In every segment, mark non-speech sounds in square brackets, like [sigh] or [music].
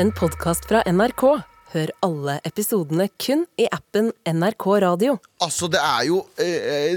en podkast fra NRK. Hør alle episodene kun i appen NRK Radio. Altså, det er jo eh,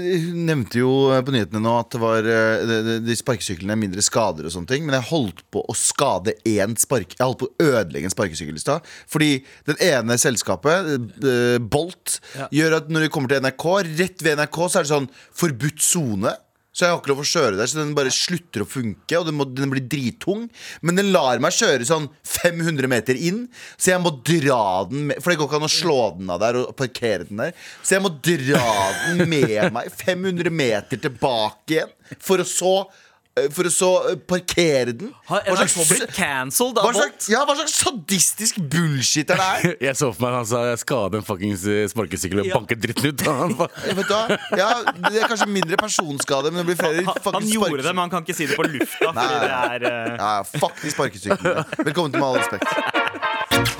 Jeg nevnte jo på nyhetene nå at det var eh, de- de- de sparkesyklene er mindre skader og sånne ting, men jeg holdt på å skade én spark... Jeg holdt på å ødelegge en sparkesykkel i stad. Fordi den ene selskapet, eh, Bolt, gjør at når vi kommer til NRK, rett ved NRK, så er det sånn forbudt sone. Så jeg har ikke lov å kjøre der, så den bare slutter å funke. Og den, må, den blir drittung. Men den lar meg kjøre sånn 500 meter inn, så jeg må dra den med For det går ikke an å slå den av der og parkere den der. Så jeg må dra den [laughs] med meg 500 meter tilbake igjen, for å så eh, for å så eh, parkere den. Har Hva NRK slags- blitt cancelled hva av Bolt? slags, ja, hva slags sadistisk bullshit er det her? Jeg så for meg at han sa jeg skadet en fuckings eh, sparkesykkel og [laughs] Ja. banket dritten ut. av han. Ja, Vet du hva? Ja, det er kanskje mindre personskade, men det blir flere Han, han fucking gjorde sparkes- det, men han kan ikke si det på lufta. Fordi det Nei. er eh, Ja, fuck de sparkesyklene. Velkommen til Med all respekt.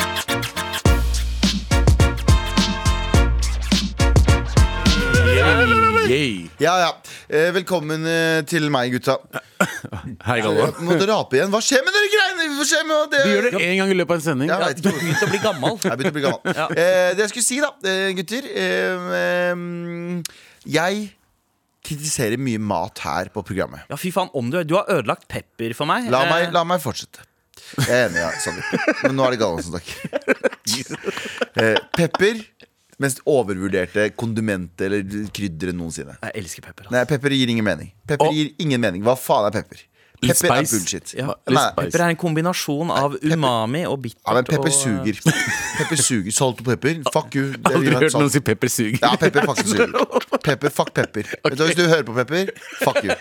Yay. Ja, ja. Eh, Velkommen eh, til meg, gutta. Eh, Hei, Galvan. Må dere rape igjen? Hva skjer med dere greiene? Hva skjer med det? Du gjør det én gang i løpet av en sending. Ja, jeg vet ikke. begynt å bli gammel. [laughs] Jeg begynte å bli gammel. Eh, det jeg skulle si, da, eh, gutter eh, eh, Jeg kritiserer mye mat her på programmet. Ja, fy faen, om du Du har ødelagt pepper for meg. La Eh, meg, la meg fortsette. Jeg er enig, ja, Sandeep. Men nå er det Galvan som [laughs] snakker. Eh, pepper. Mest overvurderte kondimentet eller krydderet noensinne. Jeg elsker pepper. Altså. Nei, pepper gir ingen mening. Pepper Og- gir ingen mening. Hva faen er pepper? Litt Pepper er spice. bullshit. Ja, litt Nei, spice. Pepper er en kombinasjon av umami og bittert. Ja, men pepper og, eh, suger. Pepper suger. Salt og pepper. Fuck you. Det vil [laughs] Aldri ha sånn. hørt salt. noen si pepper suger. [laughs] Ja, pepper fucking suger. Pepper, fuck pepper. Vet du, hva, hvis du hører på pepper, fuck you.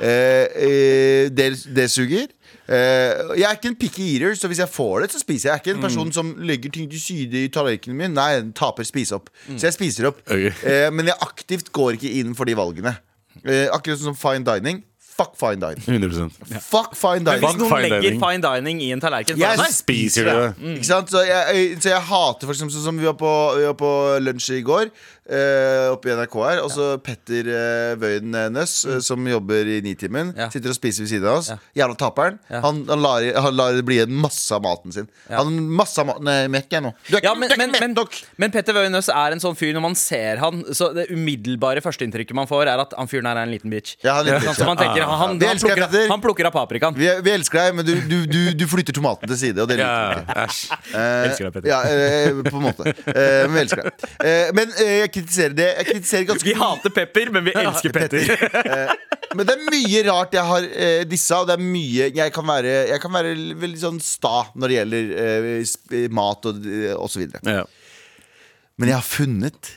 Eh, eh, det, det suger. Eh, jeg er ikke en picky eater, så hvis jeg får det, så spiser jeg. Jeg er ikke en Mm. person som legger ting til side i tallerkenen min. Nei, den taper spise opp. Så jeg spiser opp. Mm. Ok. Eh, men jeg aktivt går ikke inn for de valgene. Eh, akkurat sånn som fine dining. Fuck fine dining. 100 Fuck fine dining. Hvis Fuck noen fine legger dining. fine dining i en tallerken Jeg foran deg, Spiser du det? Mm. Ikke sant? Så jeg, jeg- så jeg hater for eksempel sånn som vi var på, vi var på lunsj i går eh, oppe i NRK her. Og så Petter eh, Wøien Nøss, eh, som jobber i Nitimen, Mm. Ja. sitter og spiser ved siden av oss. Jævla taperen. Han, han, lar, han lar det bli igjen masse av maten sin. Han masse av maten Nei, mett jeg nå. Du er ikke, Ja, men, du er men, ikke mett men, nok! men Petter Wøien Nøss er en sånn fyr når man ser han Så det umiddelbare førsteinntrykket man får, er at han fyren her er en liten bitch. Ja, han er en liten Sånn [laughs] bitch, som man ja. tenker, han, han, Det elsker jeg, plukker, Petter. han plukker av paprikaen. Vi, vi elsker deg, men du, du, du, du flytter tomaten til side. Og det liker Ja, vi ikke. æsj. Eh, Elsker deg, Petter. Ja, eh, på en måte. Eh, men vi elsker deg. Eh, men eh, jeg kritiserer det. Jeg kritiserer ganske Vi hater pepper, men vi elsker Petter. [laughs] Eh, Men det er mye rart jeg har eh, dissa, og det er mye Jeg kan være, jeg kan være veldig sånn sta når det gjelder eh, sp- mat og, og så videre. Ja. Men jeg har funnet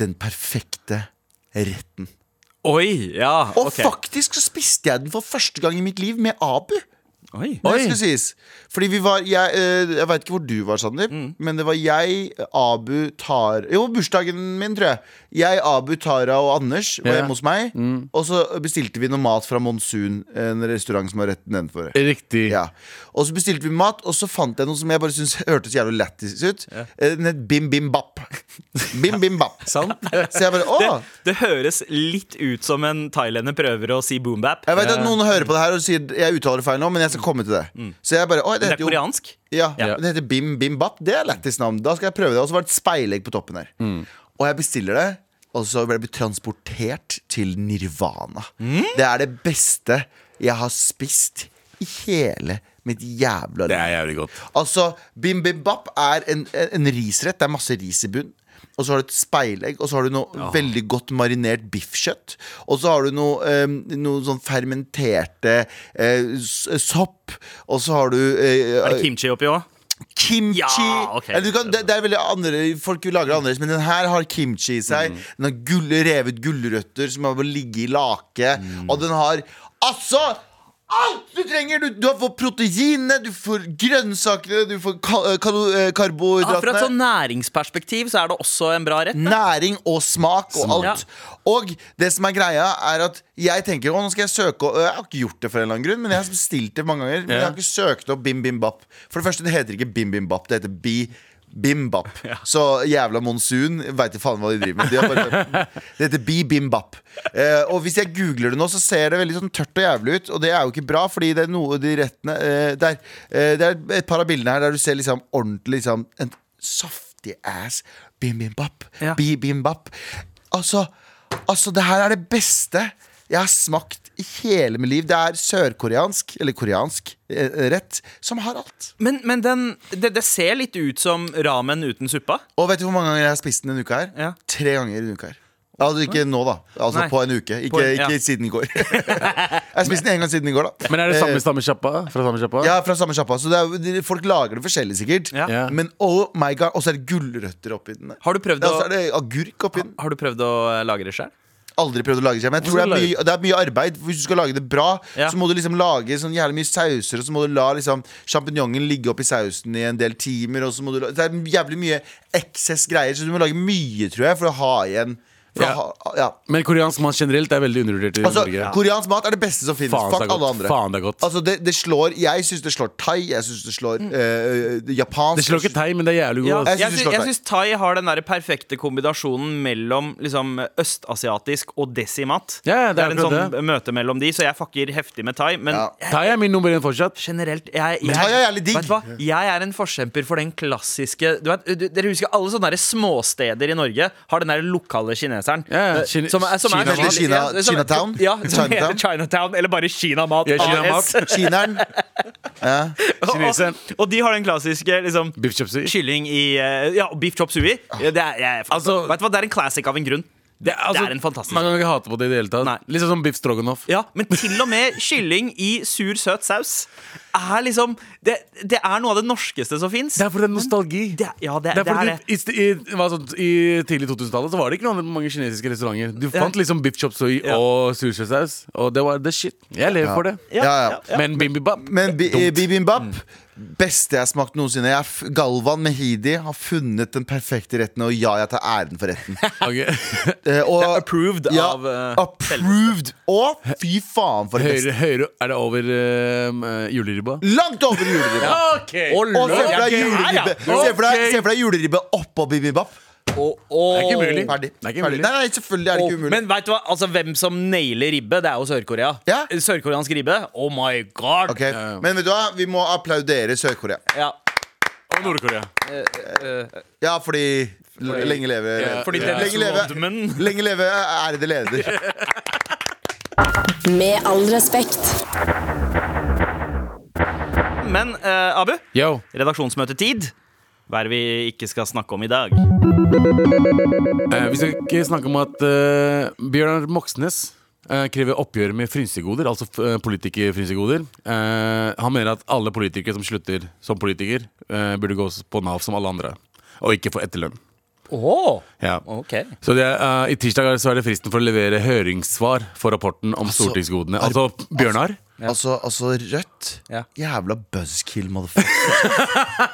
den perfekte retten. Oi, ja, Og ok. faktisk så spiste jeg den for første gang i mitt liv med Abu. Oi. Det skal sies. Fordi vi var Jeg, eh, jeg veit ikke hvor du var, Sandeep, Mm. men det var jeg, Abu, Tara Jo, bursdagen min, tror jeg. Jeg, Abu, Tara og Anders var Ja. hjemme hos meg. Mm. Og så bestilte vi noe mat fra Monsun, en restaurant som er rett nedenfor. Riktig. Ja. Og så bestilte vi mat, og så fant jeg noe som jeg bare syntes [laughs] hørtes jævlig lættis ut. Eh, Den het Bim Bim Bap. Bim Bim Bap. [laughs] Sant? Så jeg bare Å! Det høres litt ut som en thailender prøver å si boombap. Jeg vet at noen hører på det her og sier jeg uttaler det feil nå, men jeg skal komme til det. Så jeg bare Å, det Mm. Det er heter jo koreansk. Ja, Ja. det heter Bim Bim Bap. Det er lættis navn. Da skal jeg prøve det. Og så var det et speilegg på toppen her. Mm. Og jeg bestiller det. Og så ble jeg transportert til nirvana. Mm. Det er det beste jeg har spist i hele mitt jævla Det liv. er jævlig godt. Altså, bimbimbap er en, en risrett. Det er masse ris i bunn. Og så har du et speilegg, og så har du noe veldig godt marinert biffkjøtt. Og så har du noe, eh, noe sånn fermenterte eh, s- sopp. Og så har du eh, Er det kimchi oppi òg? kimchi. Ja, ok. Eller du kan, det, det er veldig andre, folk vil lage det annerledes, men den her har kimchi i Mm. seg. Den har gull, revet gulrøtter som har ligget i lake. Mm. Og den har Altså! Alt du trenger! Du, du får proteinene, du får grønnsakene, du får ka, kalo- eh, Ja, fra et karbohydratene. sånn næringsperspektiv så er det også en bra rett. Næring og smak og Smak. alt. Og det som er greia, er at jeg tenker Å, nå skal jeg søke og- Jeg har ikke gjort det for en eller annen grunn, men jeg har bestilt det mange ganger. Men jeg har ikke søkt opp Bim Bim Bap. For det første, det heter ikke Bim Bim Bap, det heter Bi Bimbap. Så jævla monsun veit ikke faen hva de driver med. De har bare, det heter Bi Bimbap. Eh, og hvis jeg googler det nå, så ser det veldig sånn tørt og jævlig ut. Og det er jo ikke bra, fordi det er noe de rettene eh, der, eh, Det er et par av bildene her der du ser liksom ordentlig liksom, en saftig ass Bim Bimbap. Ja. Bi Bimbap. Altså, altså, det her er det beste jeg har smakt i hele mitt liv. Det er sørkoreansk, eller koreansk, eh, rett som har alt. Men, men den, det, det ser litt ut som ramen uten suppa. Og vet du hvor mange ganger jeg har spist den denne uka her? Ja. Tre ganger i denne uka her. Altså ikke nå, da. Altså Nei. på en uke. Ikke, På en- ja. ikke siden i går. [laughs] jeg har spist den én gang siden i går, da. Eh, Men er Eh. det samme samme sjappa? Fra samme sjappa? Ja, fra samme sjappa. Så det er, de- folk lager det forskjellig, sikkert. Ja. Ja. Men oh my god, og så er det gulrøtter oppi den. der. Har du prøvd Ja, å- så er det agurk oppi den. Har du prøvd å eh, lage det sjøl? Aldri prøvd å lage det selv, men jeg tror det Hvordan er, mye, det er mye arbeid. Hvis du skal lage det bra, Ja. så må du liksom lage sånn jævlig mye sauser, og så må du la liksom sjampinjongen ligge oppi sausen i en del timer. Og så må du la, det er jævlig mye eksess greier, så du må lage mye, tror jeg, for å ha igjen. For Ja. Å ha, ja. Men koreansk mat generelt er veldig undervurdert i Altså, Norge. Koreansk mat er det beste som finnes. Faen, det er Fuck alle godt. andre. Faen, det er godt. Mm. Altså, det, det slår Jeg syns det slår thai, jeg syns det slår eh, japansk. Det slår ikke thei, men det er jævlig god. ass. Jeg Jeg, synes sy det slår jeg deg. syns thai har den der perfekte kombinasjonen mellom liksom, østasiatisk og desimat. Ja, ja, det det er er en akkurat sånn møte mellom de, så jeg fucker heftig med thai. Men Ja. Thai er min nummer én fortsatt. generelt jeg, jeg, thai er jævlig digg. Vet du hva? Jeg er en forkjemper for den klassiske du vet, du, Dere husker alle sånne der småsteder i Norge har den der lokale kineseren. Ja, ja. eh, Kine- som er, som er Kina- veldig- Kina- ja, som- Chinatown? Ja, som Chinatown? heter [laughs] Chinatown, eller bare Kinamat Ja, Kinamat. [laughs] AS. [laughs] Kineren. Kineseren. Og, og de har den klassiske liksom, Biff chop suey. kylling i eh, Ja, og beef chop sui. Ja, Det er, jeg, Ah. Altså- vet du hva, det er en classic av en grunn. Det, altså Det er en fantastisk- Man kan ikke hate på det i det hele tatt. Nei. Litt sånn som biff stroganoff. Ja, Men til og med kylling i sur, søt saus er liksom Det, det er noe av det norskeste som fins. Det er fordi det er nostalgi. Det er- ja, det- det er det er fordi I, st- i, hva sånn, i tidlig 2000-tallet Så var det ikke noe annet mange kinesiske restauranter. Du fant liksom biff chop soy Ja. og sushisaus, og det var the shit. Jeg lever for det. Ja, ja. Men bimbibap Men bi Dumt. Mm. bibimbap Beste jeg har smakt noensinne. Jeg, f- Galvan Mehidi har funnet den perfekte retten, og ja, jeg tar æren for [laughs] retten. Ok. Eh, og, Det er approved ja, av, eh, Approved! Og fy faen, for det beste. høyere, høyere Er det over um, juleribba? Langt over juleribbe. Ok Og se for deg juleribbe ja. Se for deg, Ok. se for deg juleribbe oppå bibimbap. Det er ikke mulig. Ferdig. Det er ikke Ferdig. mulig. Nei, nei, selvfølgelig er det ikke umulig. men vet du hva, altså hvem som nailer ribbe, det er jo Sør-Korea. Ja. Sørkoreansk ribbe. Oh my god! Ok, Men vet du hva, vi må applaudere Sør-Korea. Ja. Og Nord-Korea. Ja, fordi l- lenge leve Ja, fordi Dennis lenge leve, Rodman- lenge leve ærede leder. [laughs] Med all respekt. Men eh, Abu, Yo. redaksjonsmøtetid. Hva er det vi ikke skal snakke om i dag? Eh, vi skal ikke snakke om at eh, Bjørnar Moxnes eh, krever oppgjør med frynsegoder, altså uh, politikerfrynsegoder. Eh, han mener at alle politikere som slutter som politiker, eh, burde gå på Nav som alle andre, og ikke få etterlønn. Oh, Ja. ok Så det, er, eh, I tirsdag er- så er det fristen for å levere høringssvar for rapporten om stortingsgodene. Altså, Bjørnar. Altså, altså Rødt. Ja. Jævla buzzkill, motherfucker.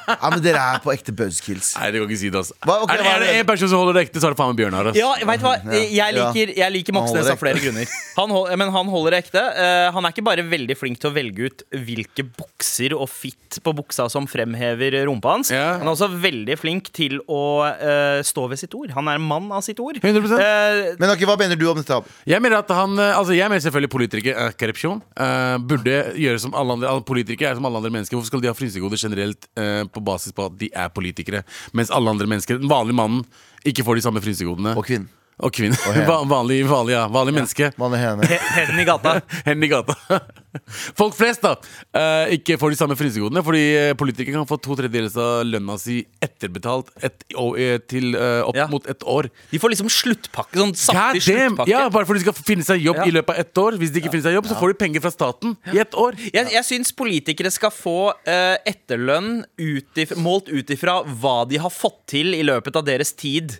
ja, men dere er på ekte buzzkills. Nei, det kan ikke si det, altså. Hva- ok, er, det, hva er er det det? en person som holder det ekte, så er det faen meg Bjørnar. altså. ass. Ja, vet du hva? Jeg liker, jeg liker Han Moxnes holder av flere grunner. Han hol- men han holder det ekte. Eh, han er ikke bare veldig flink til å velge ut hvilke bukser og fitt på buksa som fremhever rumpa hans. Ja. Han er også veldig flink til å eh, stå ved sitt ord. Han er en mann av sitt ord. 100%. Eh, Men ok, hva mener du om dette? Abu? Jeg mener at han eh, Altså, jeg mener selvfølgelig politikere eh, korrupsjon. eh, burde gjøre som alle andre alle Politikere er som alle andre mennesker. Hvorfor skal de ha frynsegoder generelt eh, på basis på at de er politikere, mens alle andre mennesker, den vanlige mannen, ikke får de samme frynsegodene? Og kvinnen. Og kvinnen. [laughs] hen. Va- vanlig, vanlig, ja. vanlig menneske. Mann i henne. he- Hendene i gata. Hendene i gata. [laughs] Folk flest da eh, ikke får de samme frynsegodene, fordi eh, politikere kan få to tredjedeler av lønna si etterbetalt et, og, eh, til, eh, opp Ja. mot et år. De får liksom sluttpakke. Sånn God saftig damn! sluttpakke. Ja, bare for de skal finne seg jobb Ja. i løpet av ett år. Hvis de ikke finner seg jobb, så får de penger fra staten i ett år. Jeg, jeg syns politikere skal få eh, etterlønn ut if, målt ut ifra hva de har fått til i løpet av deres tid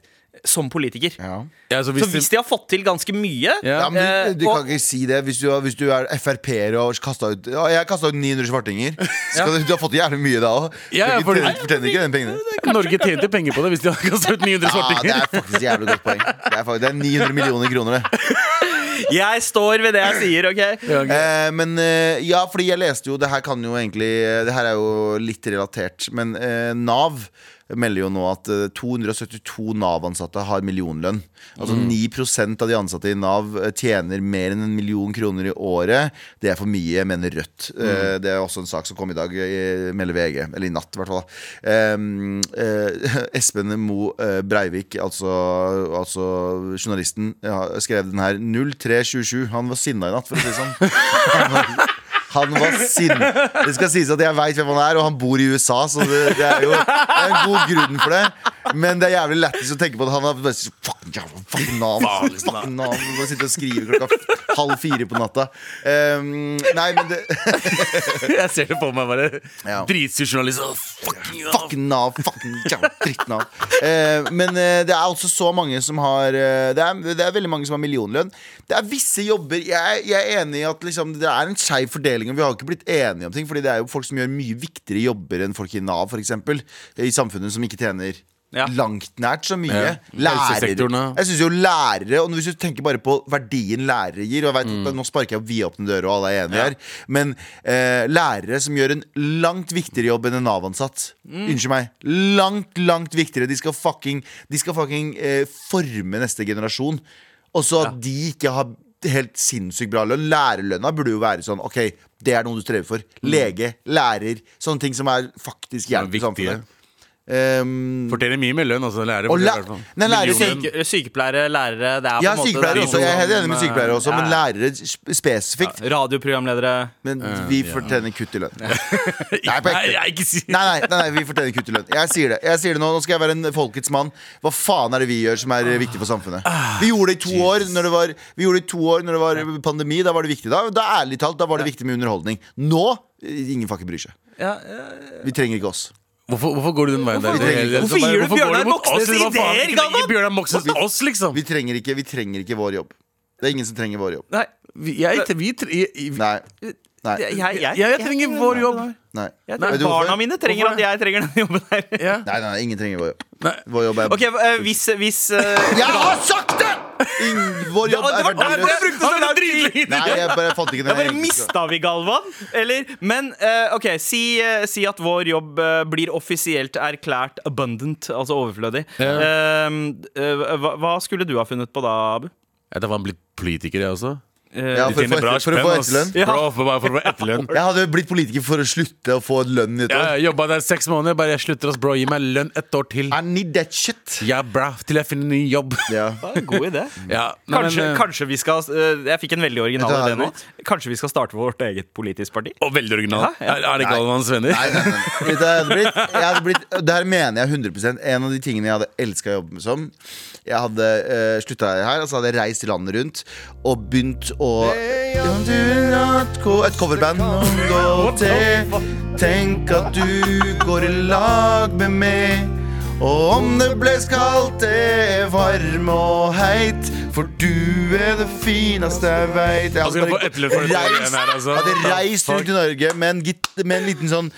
som politiker. Ja. Ja, så Så hvis hvis de har fått til ganske mye Ja. Ja, men du, du Eh, kan og- ikke si det hvis du, hvis du er Frp-er og kastet ut ja, Jeg kasta ut 900 svartinger. Skal du, du har fått jævlig mye da òg. Ja, ja, for- Fortjener ikke den pengene. Norge tjente penger på det hvis de har kastet ut 900 Ja, det svartinger. er faktisk et jævlig godt poeng. Det er, faktisk, det er 900 millioner kroner, det. Jeg står ved det jeg sier, [laughs] OK? Ja, ok. Eh, men eh, ja, fordi jeg leste jo Det her kan jo egentlig Det her er jo litt relatert Men eh, NAV melder jo nå at eh, 272 Nav-ansatte har millionlønn. Altså Mm. 9 av de ansatte i Nav eh, tjener mer enn en million kroner i året. Det er for mye, mener Rødt. Eh, Mm. Det er også en sak som kom i dag, eh, melder VG. Eller i natt, i hvert fall. Ehm, eh, [laughs] Espen Mo eh, Breivik, altså, altså journalisten, ja, skrev den her 03.27. Han var sinna i natt, for å si det sånn. Han var- han var sinn... Det skal sies at jeg veit hvem han er, og han bor i USA, så det, det er jo det er en god grunn for det. Men det er jævlig lættis å tenke på at han har bare så- fucking jævla fucking navn. liksom." Fucking navn Bare sitte og skrive klokka f- halv fire på natta. Ehm, nei, men det Jeg ser det på meg bare. [laughs] Ja. Dritsur journalist. Åh, fucking ja. Fucking Nav. Fucking jævla drittnav. Eh, men eh, det er altså så mange som har eh, det, er, det er veldig mange som har millionlønn. Det er visse jobber Jeg, jeg er enig i at liksom, det er en skeiv fordeling, og vi har ikke blitt enige om ting. Fordi det er jo folk som gjør mye viktigere jobber enn folk i Nav, f.eks. I samfunnet som ikke tjener Ja. langt nært så mye. Ja. Lærere. Helsesektoren, ja. Jeg syns jo lærere Og hvis du tenker bare på verdien lærere gir Og jeg vet, at Nå sparker jeg vidåpne dører, og alle er enige her. Men eh, lærere som gjør en langt viktigere jobb enn en Nav-ansatt. Unnskyld meg. Langt, langt viktigere. De skal fucking, de skal fucking eh, forme neste generasjon. Og så at de ikke har helt sinnssykt bra lønn. Lærerlønna burde jo være sånn OK, det er noe du strever for. Lege, lærer. Sånne ting som er faktisk Ja, hjelp i viktige. samfunnet. Um, Fortjener mye mer lønn, altså. Lærere. Og fortjener læ- i hvert fall. Nei, lærere- Millionen. Syke, sykepleiere, lærere det ja, er på en måte sykepleiere det også. Jeg er helt enig med som, sykepleiere også, eh, men ja, lærere sp- spesifikt. ja. Radioprogramledere. Men vi fortjener kutt [laughs] i lønn. Nei, på Nei, ekte. jeg ikke si Nei, nei, nei, nei, vi fortjener kutt i lønn. Jeg sier det jeg sier det nå. Nå skal jeg være en folkets mann. Hva faen er det vi gjør som er Ah. eh, viktig for samfunnet? Vi gjorde det i to år når det var, vi gjorde det i to år når det var pandemi. Da var det viktig. Da, da ærlig talt, da var det viktig med underholdning. Nå eh, ingen fucking bryr seg. Ja, ja. Vi trenger ikke oss. Hvorfor, hvorfor går du den veien der? Hvorfor- Det- det- hvorfor bare- gir du går Bjørnar mot oss? Moxnes Det var faen ideer, ikke- Galvan? Ikke Bjørnar Moxnes til oss, liksom. Vi trenger ikke, vi trenger ikke vår jobb. Det er ingen som trenger vår jobb. Nei, Vi- Jeg, vi, tre- jeg, jeg, Nei. Nei. jeg, jeg, jeg, jeg trenger vår jobb. Nei. Vet Jeg trenger, du hvorfor? barna mine trenger at Hvorfor jeg trenger den jobben her. Ja. Nei, nei, ingen trenger vår jobb. Nei. Vår jobb er Ok, eh, hvis, hvis eh, Jeg har sagt det! Ingen- Vår jobb Ja, det er var derfor jeg verdiløs. brukte så lang tid! Nei, jeg bare fant ikke Da den. bare jeg- mista vi Galvan. Eller, men eh, OK, si, eh, si at vår jobb eh, blir offisielt erklært abundant, altså overflødig. Ja. Eh, eh, hva, hva skulle du ha funnet på da, Abu? Jeg var blitt politiker, jeg også. Eh, Ja, for, å Tjener få bra etter, for å spenn, få ass. etterlønn. Ja. Bro, for, bare for å få etterlønn. Jeg hadde blitt politiker for å slutte å få lønn i et år. Jeg jobba der seks måneder. Bare jeg slutter, ass, bro. Gi meg lønn et år til. I need that shit. Ja, bra. Til jeg finner ny jobb. Ja. det var en god idé. Ja, nei, men, Kanskje, eh, kanskje vi skal eh, Jeg fikk en veldig original Vet du hva, idé nå. Kanskje vi skal starte vårt eget politisk parti? [laughs] og veldig original. Ja, ja. Er, er det Galvans venner? Nei, nei, nei. [laughs] Vet du hva jeg hadde blitt? Jeg hadde blitt der mener jeg 100 En av de tingene jeg hadde elska å jobbe med som. Jeg hadde uh, slutta her, og så hadde jeg reist landet rundt og begynt å Om du vil at ko- Et coverband om gå til. Tenk at du går i lag med meg. Og om det ble kaldt, det er varm og heit. For du er det fineste jeg veit. Jeg Han skal få etterlønn for dette greiene her, altså. hadde reist rundt i Norge med en, git, med en liten sånn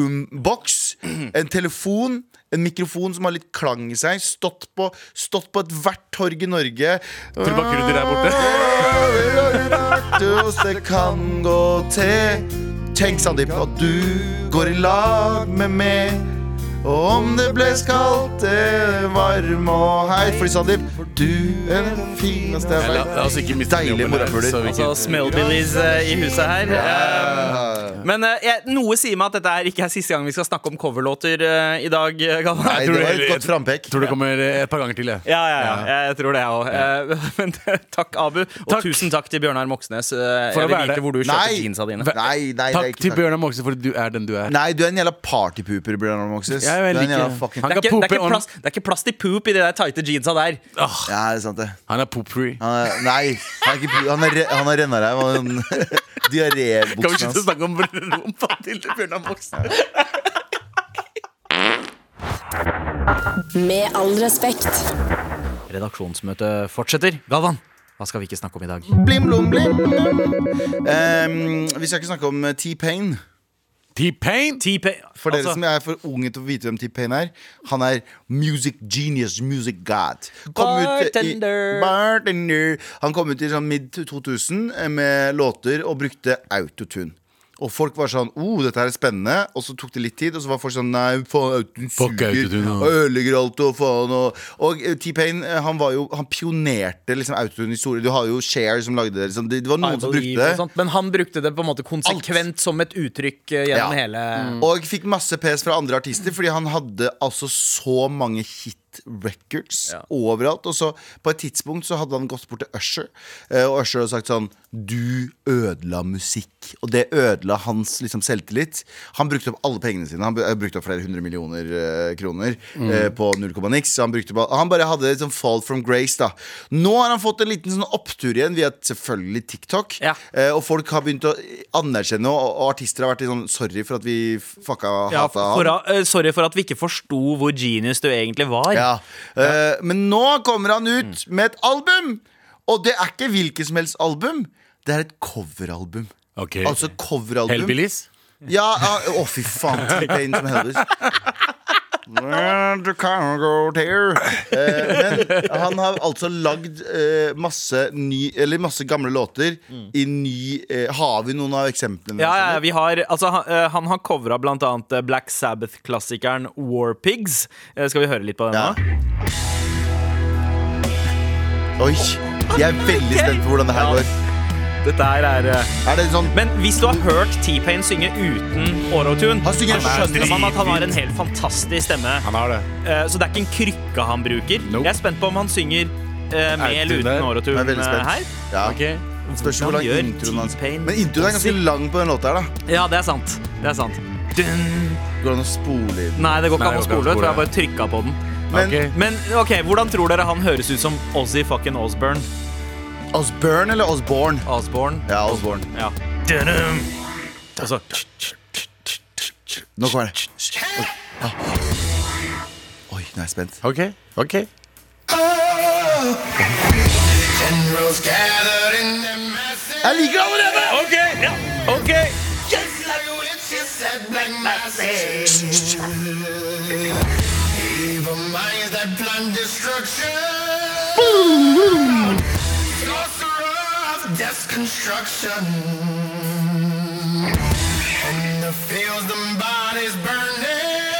boombox, en telefon, en mikrofon som har litt klang i seg, stått på, stått på ethvert torg i Norge. Tilbakerunder der borte. Nattøst det kan gå til. Tenk, Sandeep, at du går i lag med meg. Og om det ble kaldt, det er varm og heit. Fordi, Sandeep, du er den fineste jeg La, vet. la oss ikke miste den Deilige jobben her, morapuler. så vi Altså ikke- Smellbillies eh, i huset her. Eh, Eh, men eh, jeg, noe sier meg at dette her ikke er siste gang vi skal snakke om coverlåter eh, i dag, eh, Galvan. Nei, tror det var heller- et godt frampek. Tror det kommer eh, et par ganger til, jeg. Ja, ja, ja, Jeg- jeg tror det, jeg òg. [laughs] Men eh, takk, Abu. Og Takk. tusen takk til Bjørnar Moxnes. Eh, For å jeg vil være vite det. hvor du kjøper Nei. jeansa dine. Hva- Nei, nei, det er Takk ikke til Bjørnar Moxnes for at du er den du er. Nei, du er en jævla partypooper, Bjørnar Moxnes. Ja, jeg Du er en liker jævla det. fucking Han Det Ja, er, kan ikke, det, er pope ikke on- plass, det er ikke plass til poop i de der tighte jeansa der. det er sant, det. Han er poop-free. Han er, nei, han er, ikke, pu- han er, re- han er rennarev. [laughs] han- Kan vi Diarébuksen slutte å hans. snakke om rumpa til Bjørnar Moxnes? Med all respekt. Redaksjonsmøtet fortsetter. Galvan, hva skal vi ikke snakke om i dag? Blim, blom, blim, blom. Ehm, vi skal ikke snakke om eh, T-Pain. T-Pain? For Altså- dere som er for unge til å vite hvem T-Pain er, han er music genius, music god. Kom ut eh, i- Bartender. eh, bartender. Han kom ut i sånn mid 2000 med låter og brukte autotune. Og folk var sånn oh, dette her er spennende. Og så tok det litt tid, og så var folk sånn Nei, faen, Autun Fuck suger Autotune, ja. og ødelegger alt og faen og Og eh, T-Pain, eh, han var jo Han pionerte liksom autotune historie. Du har jo Cher som lagde det. Liksom. Det, det var noen som Idol Eve brukte og det. sånt, Men han brukte det på en måte konsekvent som et uttrykk eh, Ja. gjennom Mm. hele Og fikk masse pes fra andre artister fordi han hadde altså så mange hit records Ja. overalt. Og så på et tidspunkt så hadde han gått bort til Usher, eh, og Usher hadde sagt sånn Du ødela musikk. Og det ødela hans liksom selvtillit. Han brukte opp alle pengene sine. Han br- eh, brukte opp flere hundre millioner eh, kroner Mm. eh, på null komma niks. så Han, brukte opp, al- han bare hadde liksom fall from grace, da. Nå har han fått en liten sånn opptur igjen via selvfølgelig TikTok. Ja. Eh, og folk har begynt å anerkjenne, og, og artister har vært litt sånn sorry for at vi fucka ja, hata for, han. eh, Sorry for at vi ikke forsto hvor genius du egentlig var. Ja. Eh, men nå kommer han Mm. ut med et album! Og det er ikke hvilket som helst album. Det er et coveralbum. Ok. Altså coveralbum. Hellbillies? Ja, ja, Å, fy faen. T-Pain som Elvis. Well, you can't go there. Eh, men han har altså lagd eh, masse, ny, eller masse gamle låter i ny eh, Har vi noen av eksemplene? Mm. Ja, ja, vi har, altså, han, eh, han har covra blant annet eh, Black Sabbath-klassikeren War Pigs. Eh, Skal vi høre litt på den Ja. nå? Oi, jeg er veldig spent på hvordan det her Ja. går. Dette her er eh, Er det sånn Men hvis du har hørt T-Pain synge uten autotune, Han synger så skjønner man at han dritfint. har en helt fantastisk stemme. Han har det. Eh, Så det er ikke en krykke han bruker. Nope. Jeg er spent på om han synger eh, med eller uten Autotune der. Jeg er autotune veldig eh, her. spent. Ja. Ok. Spørs hvor Hvordan lang gjør introen hans T-Pain Men introen er ganske musikk? lang på den låta her, da. Ja, det er sant. Det er sant. Dun. Går det an å spole i den? Nei, det går ikke Nei, an å det går spole ikke an å ut, for jeg spole. bare trykka på den. Men Ok. Men ok, hvordan tror dere han høres ut som Ozzy fucking Osbourne? Osbourne eller Osborne? Osbourne? Ja, Osborne. Ja. Altså, Og så Nå kommer det. Oi. Ja. Oi, nå er jeg spent. Ok. ok Jeg liker det allerede! OK! Ja, OK! Destruction and the fields and bodies burning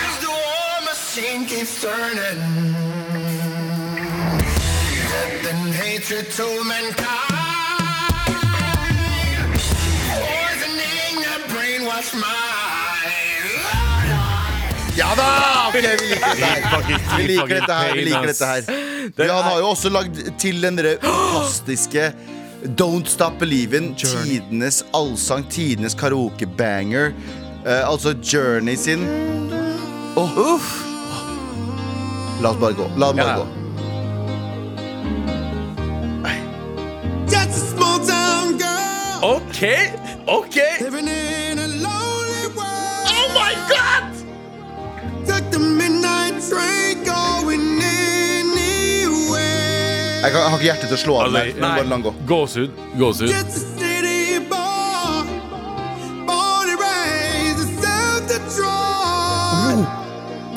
as the war machine keeps turning. Death and hatred to mankind, poisoning the brainwashed mind. Ja da! Ok, vi liker dette her. Vi liker dette her. Vi liker dette her. Ja, han har jo også lagd til den derre fantastiske Don't Stop Believin', tidenes allsang, tidenes karaokebanger. Eh, altså Journey sin. Åh. La oss bare gå. La oss bare Ja. gå. Just a small town girl OK! OK! living in a lonely world. Oh my god! Took the midnight train going anywhere. Jeg, kan, jeg har ikke hjerte til å slå av den her. Jeg må Nei. Bare la den gå. Gåsehud. Gåsehud. Just a city boy, born and raised in South Detroit.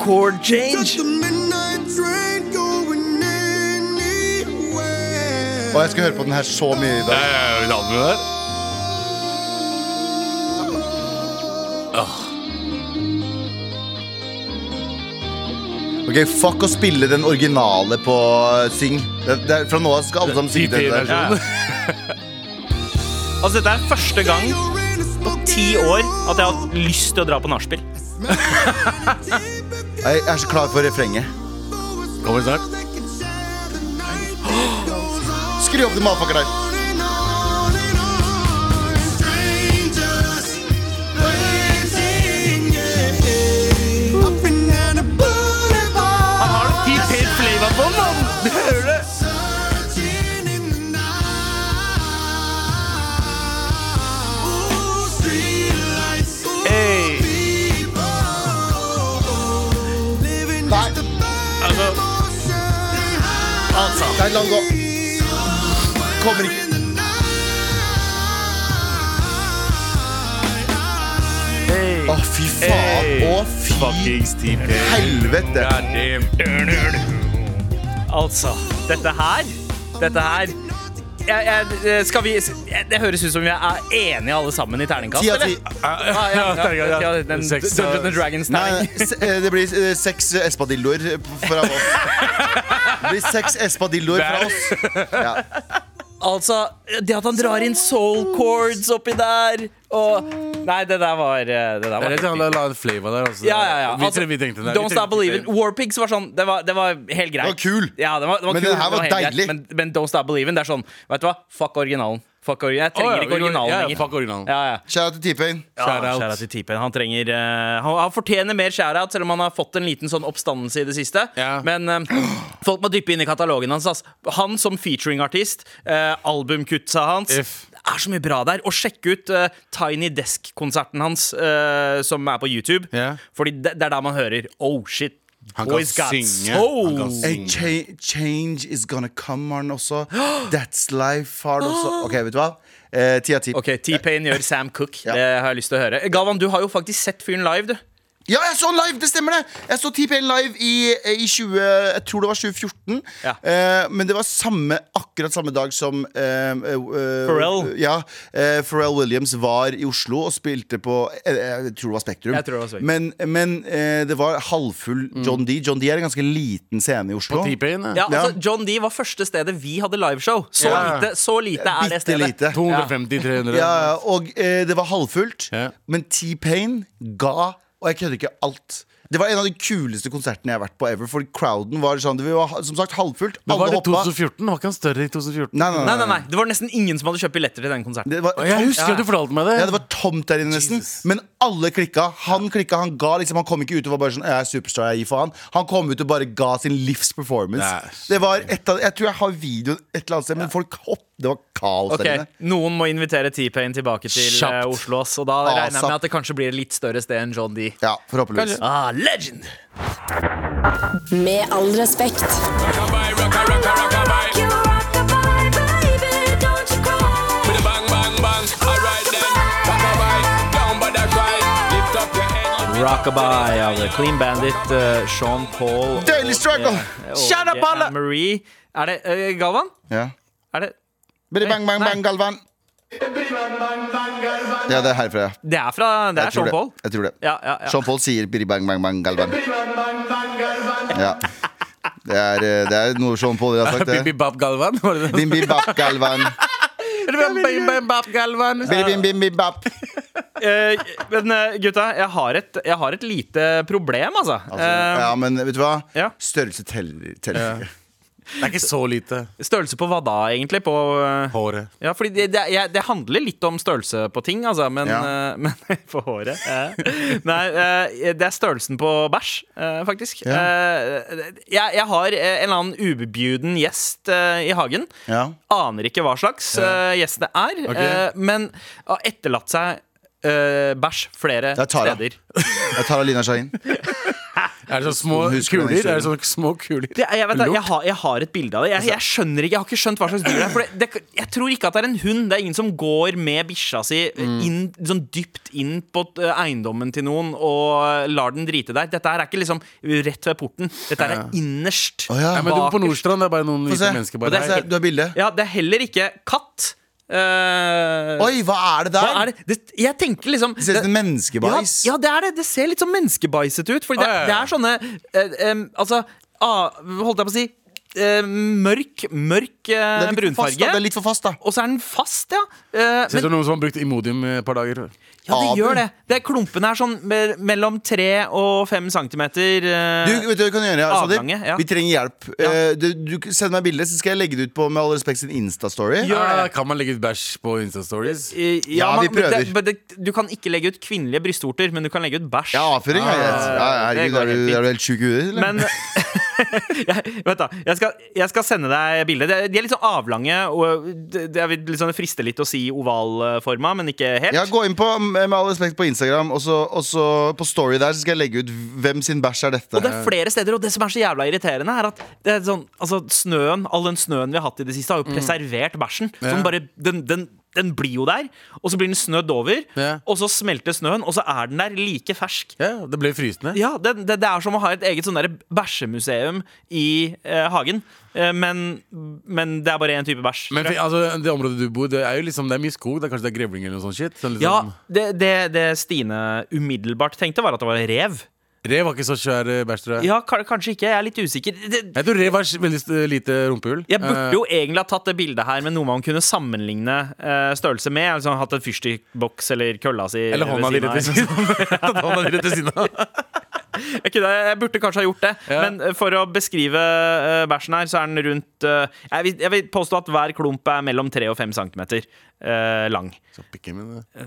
Chord Took change. the midnight train going anywhere. Og jeg skal høre på den her så mye i dag. Eh, albumet der. Ok, Fuck å spille den originale på eh, Syng. Det, det er, fra nå av skal alle sammen synge den der. sånn. TP-versjonen. [laughs] Altså, dette er første gang You're in a på ti år at jeg har hatt lyst til å dra på nachspiel. Jeg er så klar for refrenget. Kommer snart. [gasps] Skru opp den matpakken der. Han har det fint helt flavor på den, han. Du hører det? Hey. Nei, Altså, altså. nei, la den gå. Kommer ikke. Å, fy faen. Å, fy Fuckings TP. helvete. God damn. Altså, dette her Dette her jeg, jeg, skal vi, eh, det høres ut som vi er enige alle sammen i terningkast, Ti av eller? ti. Ah, ja, ja, ja, ja, den Seks Dungeons av- and Dragons Nei, terning. s- eh, det blir eh, seks eh, espadilloer fra oss. Det blir seks espadilloer fra oss. Ja. Altså, det at han drar inn soul chords oppi der og Nei, det der var eh, Det der Det var er litt sånn, la, la en flavor der. Altså. ja, ja, ja. Vi, Altså, tre- vi tenkte det. Vi Don't tenkte Stop Believin'. det. Warpigs var sånn Det var, det var helt greit. Det var kul. Ja, det var, det var Men kul, den her det var helt greit, deilig. Men, men Don't Stop Believin', det er sånn Vet du hva, fuck originalen. Fuck origi- Jeg Å, trenger ja, ikke originalen ja, ja, lenger. Fuck originalen. Ja, ja. Shout out til T-Pain. Shout out. Shout out til T-Pain. Han, trenger, eh, han, han fortjener mer shout-out, selv om han har fått en liten sånn oppstandelse i det siste. Ja. Men eh, folk må dyppe inn i katalogen hans. Ass. Han som featuring-artist, eh, albumkutta hans If. Det er så mye bra der. Og sjekk ut eh, Tiny Desk-konserten hans, eh, som er på YouTube. Ja. Fordi det, det er der man hører Oh, shit. Han Boys kan got synge. soul. Han kan A synge. cha change is gonna come, har den også. That's life har den også. Ok, vet du hva? Eh, Ti av ti. Ok, T-Pain gjør Sam [laughs] Cook. Ja. Det har jeg lyst til å høre. Galvan, du har jo faktisk sett fyren live, du. Ja, jeg så han live! Det stemmer, det! Jeg så T-Pain live i, eh, i 20, jeg tror det var 2014. Ja. Eh, men det var samme, akkurat samme dag som eh, eh, eh, Pharrell. Ja, eh, Pharrell Williams var i Oslo og spilte på eh, Jeg tror det var Spektrum. Jeg tror det var Spektrum. Men, men eh, det var halvfull John D. John D er en ganske liten scene i Oslo. På T-Pain, Ja, ja. altså, John D var første stedet vi hadde liveshow. Så Ja. lite, så lite er det Bitte stedet. lite. 250-300. Ja, ja, og eh, det var halvfullt, Ja. men T-Pain ga, og jeg kødder ikke, alt. Det var en av de kuleste konsertene jeg har vært på ever, for crowden var sånn Det var som sagt halvfullt. Men var Alle det hoppa. 2014? Var ikke han større i 2014? Nei, nei, Nei, nei. nei, nei, Det var nesten ingen som hadde kjøpt billetter til den konserten. Det var Å, Jeg tomt. husker at du fortalte meg det. Ja, det var tomt der inne nesten. Men alle klikka. Han klikka, han ga liksom Han kom ikke ut og var bare sånn Jeg er superstar, jeg gir faen. Han kom ut og bare ga sin livs performance. Nei, det var et av Jeg tror jeg har videoen et eller annet sted, men folk hopp Det var kaos Ok, der inne. Noen må invitere T-Pain tilbake til eh, Kjapt. Oslo. ass, Og da regner jeg ASAP. med at det kanskje blir et litt større sted enn John D. Ah, Ja, forhåpentligvis. Ah, legend! Med all respekt. Rockabye av The Clean Bandit, eh, Sean Paul og- eh, Daily struggle! og Shut up, Anne alle! Marie. Er det eh, Galvan? Ja. Er det Bidi bang, bang, Nei. bang, Galvan. Ja, det er herfra, ja. Det er fra det er Jeg tror Sean det. Paul. Jeg tror det. Ja, ja, ja. Sean Paul sier bidi bang, bang, bang, Galvan. Ja. Det er, eh, det er noe Sean Paul har [laughs] sagt, Bibi det. Bab Galvan? Var det det? Bim, bim, bap, Galvan. Bibi Bab Galvan Bidi, bim, bim, bim, [laughs] bap. Eh, men eh, gutta, jeg har, et, jeg har et lite problem, altså. Altså, ja, men vet du hva? ja. Størrelse teller, teller. ikke. Det er ikke så lite. Eh, størrelse på hva da, egentlig? På eh, Håret. Ja, fordi det, det, jeg, det handler litt om størrelse på ting, altså, men, Ja. eh, [laughs] men på håret eh. Nei, eh, det er størrelsen på bæsj, eh, faktisk. Ja. Eh, jeg, jeg har eh, en eller annen ubebjuden gjest eh, i hagen. Ja. Aner ikke hva slags eh, gjest det er, Ok. eh, men har etterlatt seg eh, bæsj flere Det er Tara. steder. Jeg tar Alina Shahin. Er det sånn små Hun husker den kuler? Er det historien. sånn små kuler? Det, jeg, vet, det, jeg, har, jeg har et bilde av det. Jeg, Altså- jeg skjønner ikke, jeg har ikke skjønt hva slags dyr det er. For det, det, jeg tror ikke at det er en hund. Det er ingen som går med bikkja si Mm. inn, sånn dypt inn på eh, eiendommen til noen og lar den drite der. Dette her er ikke liksom rett ved porten. Dette her er innerst. Å, ja. Nei, men du på bakerst. Nordstrand, det er bare noen Få se. hvite mennesker Få bare se, Du har bilde. Ja, det er heller ikke katt. Eh, Oi, hva er det der? hva er det? det? Jeg tenker liksom Det ser ut som en menneskebajs. ja, ja, det er det. Det ser litt sånn menneskebajset ut. Fordi det, Ja, ja, ja. det er sånne eh, em, Altså, ah, holdt jeg på å si eh, Mørk, mørk eh, Det er litt for fast, da. Det brunfarge. er litt for fast, da. Og så er den fast, ja. Eh, Ser ut men, som noen som har brukt Imodium et par dager. ja, det Abel. gjør det. det er klumpene er sånn me- mellom tre og fem centimeter. eh, Du, vet du hva vi kan gjøre, ja, Sadir? Avgange, ja. Vi trenger hjelp. Ja. Eh, Du, du Send meg bilde, så skal jeg legge det ut på Med all respekt sin Insta-story. Gjør det. Ah, kan man legge ut bæsj på Insta-stories? i- Ja, vi men prøver. Det, men det, du kan ikke legge ut kvinnelige brystvorter, men du kan legge ut bæsj. Ah. Ja, avføring er greit. Ja, ja, det herregud, går er helt du, fint. er du helt sjuk i huet? eller? Men [laughs] jeg, Vent da, jeg skal, jeg skal sende deg bildet De er, de er litt sånn avlange og det, det er litt sånn, det frister litt å si ovalforma, men ikke helt Ja, Gå inn på Med all respekt på Instagram, og så, og så på story der så skal jeg legge ut hvem sin bæsj er dette. Og det eh. er flere steder, og det som er så jævla irriterende Er at det Mm. er sånn, altså snøen All den snøen vi har hatt i det siste har jo preservert bæsjen Som bare, den, den den blir jo der, og så blir den snødd over, Ja. og så smelter snøen, og så er den der like fersk. Ja, det ble frysende. Ja, det, det, det er som å ha et eget sånn der bæsjemuseum i eh, hagen. Eh, men, men det er bare én type bæsj. Men fi- altså, det området du bor, det er jo liksom, det er mye skog. Det er kanskje det er grevling eller noe sånt shit. Sånn, Ja, liksom, det, det, det Stine umiddelbart tenkte, var at det var rev. Rev var ikke så svær eh, bæsj, tror jeg. Ja, ka- kanskje ikke. Jeg er litt usikker. Det, Jeg tror rev har veldig eh, lite rumpehull. jeg burde Eh, jo egentlig ha tatt det bildet her med noe man kunne sammenligne eh, størrelse med. Altså hatt en fyrstikkboks eller liksom. kølla si. Eller hånda di ved rett ved siden av. siden [laughs] av. Hånda di rett ved siden av. [laughs] Jeg kunne- Jeg burde kanskje ha gjort det. Men eh, for å beskrive eh, bæsjen her, så er den rundt eh, jeg, vil, jeg vil påstå at hver klump er mellom 3 og 5 cm lang. Så pikken min, eh.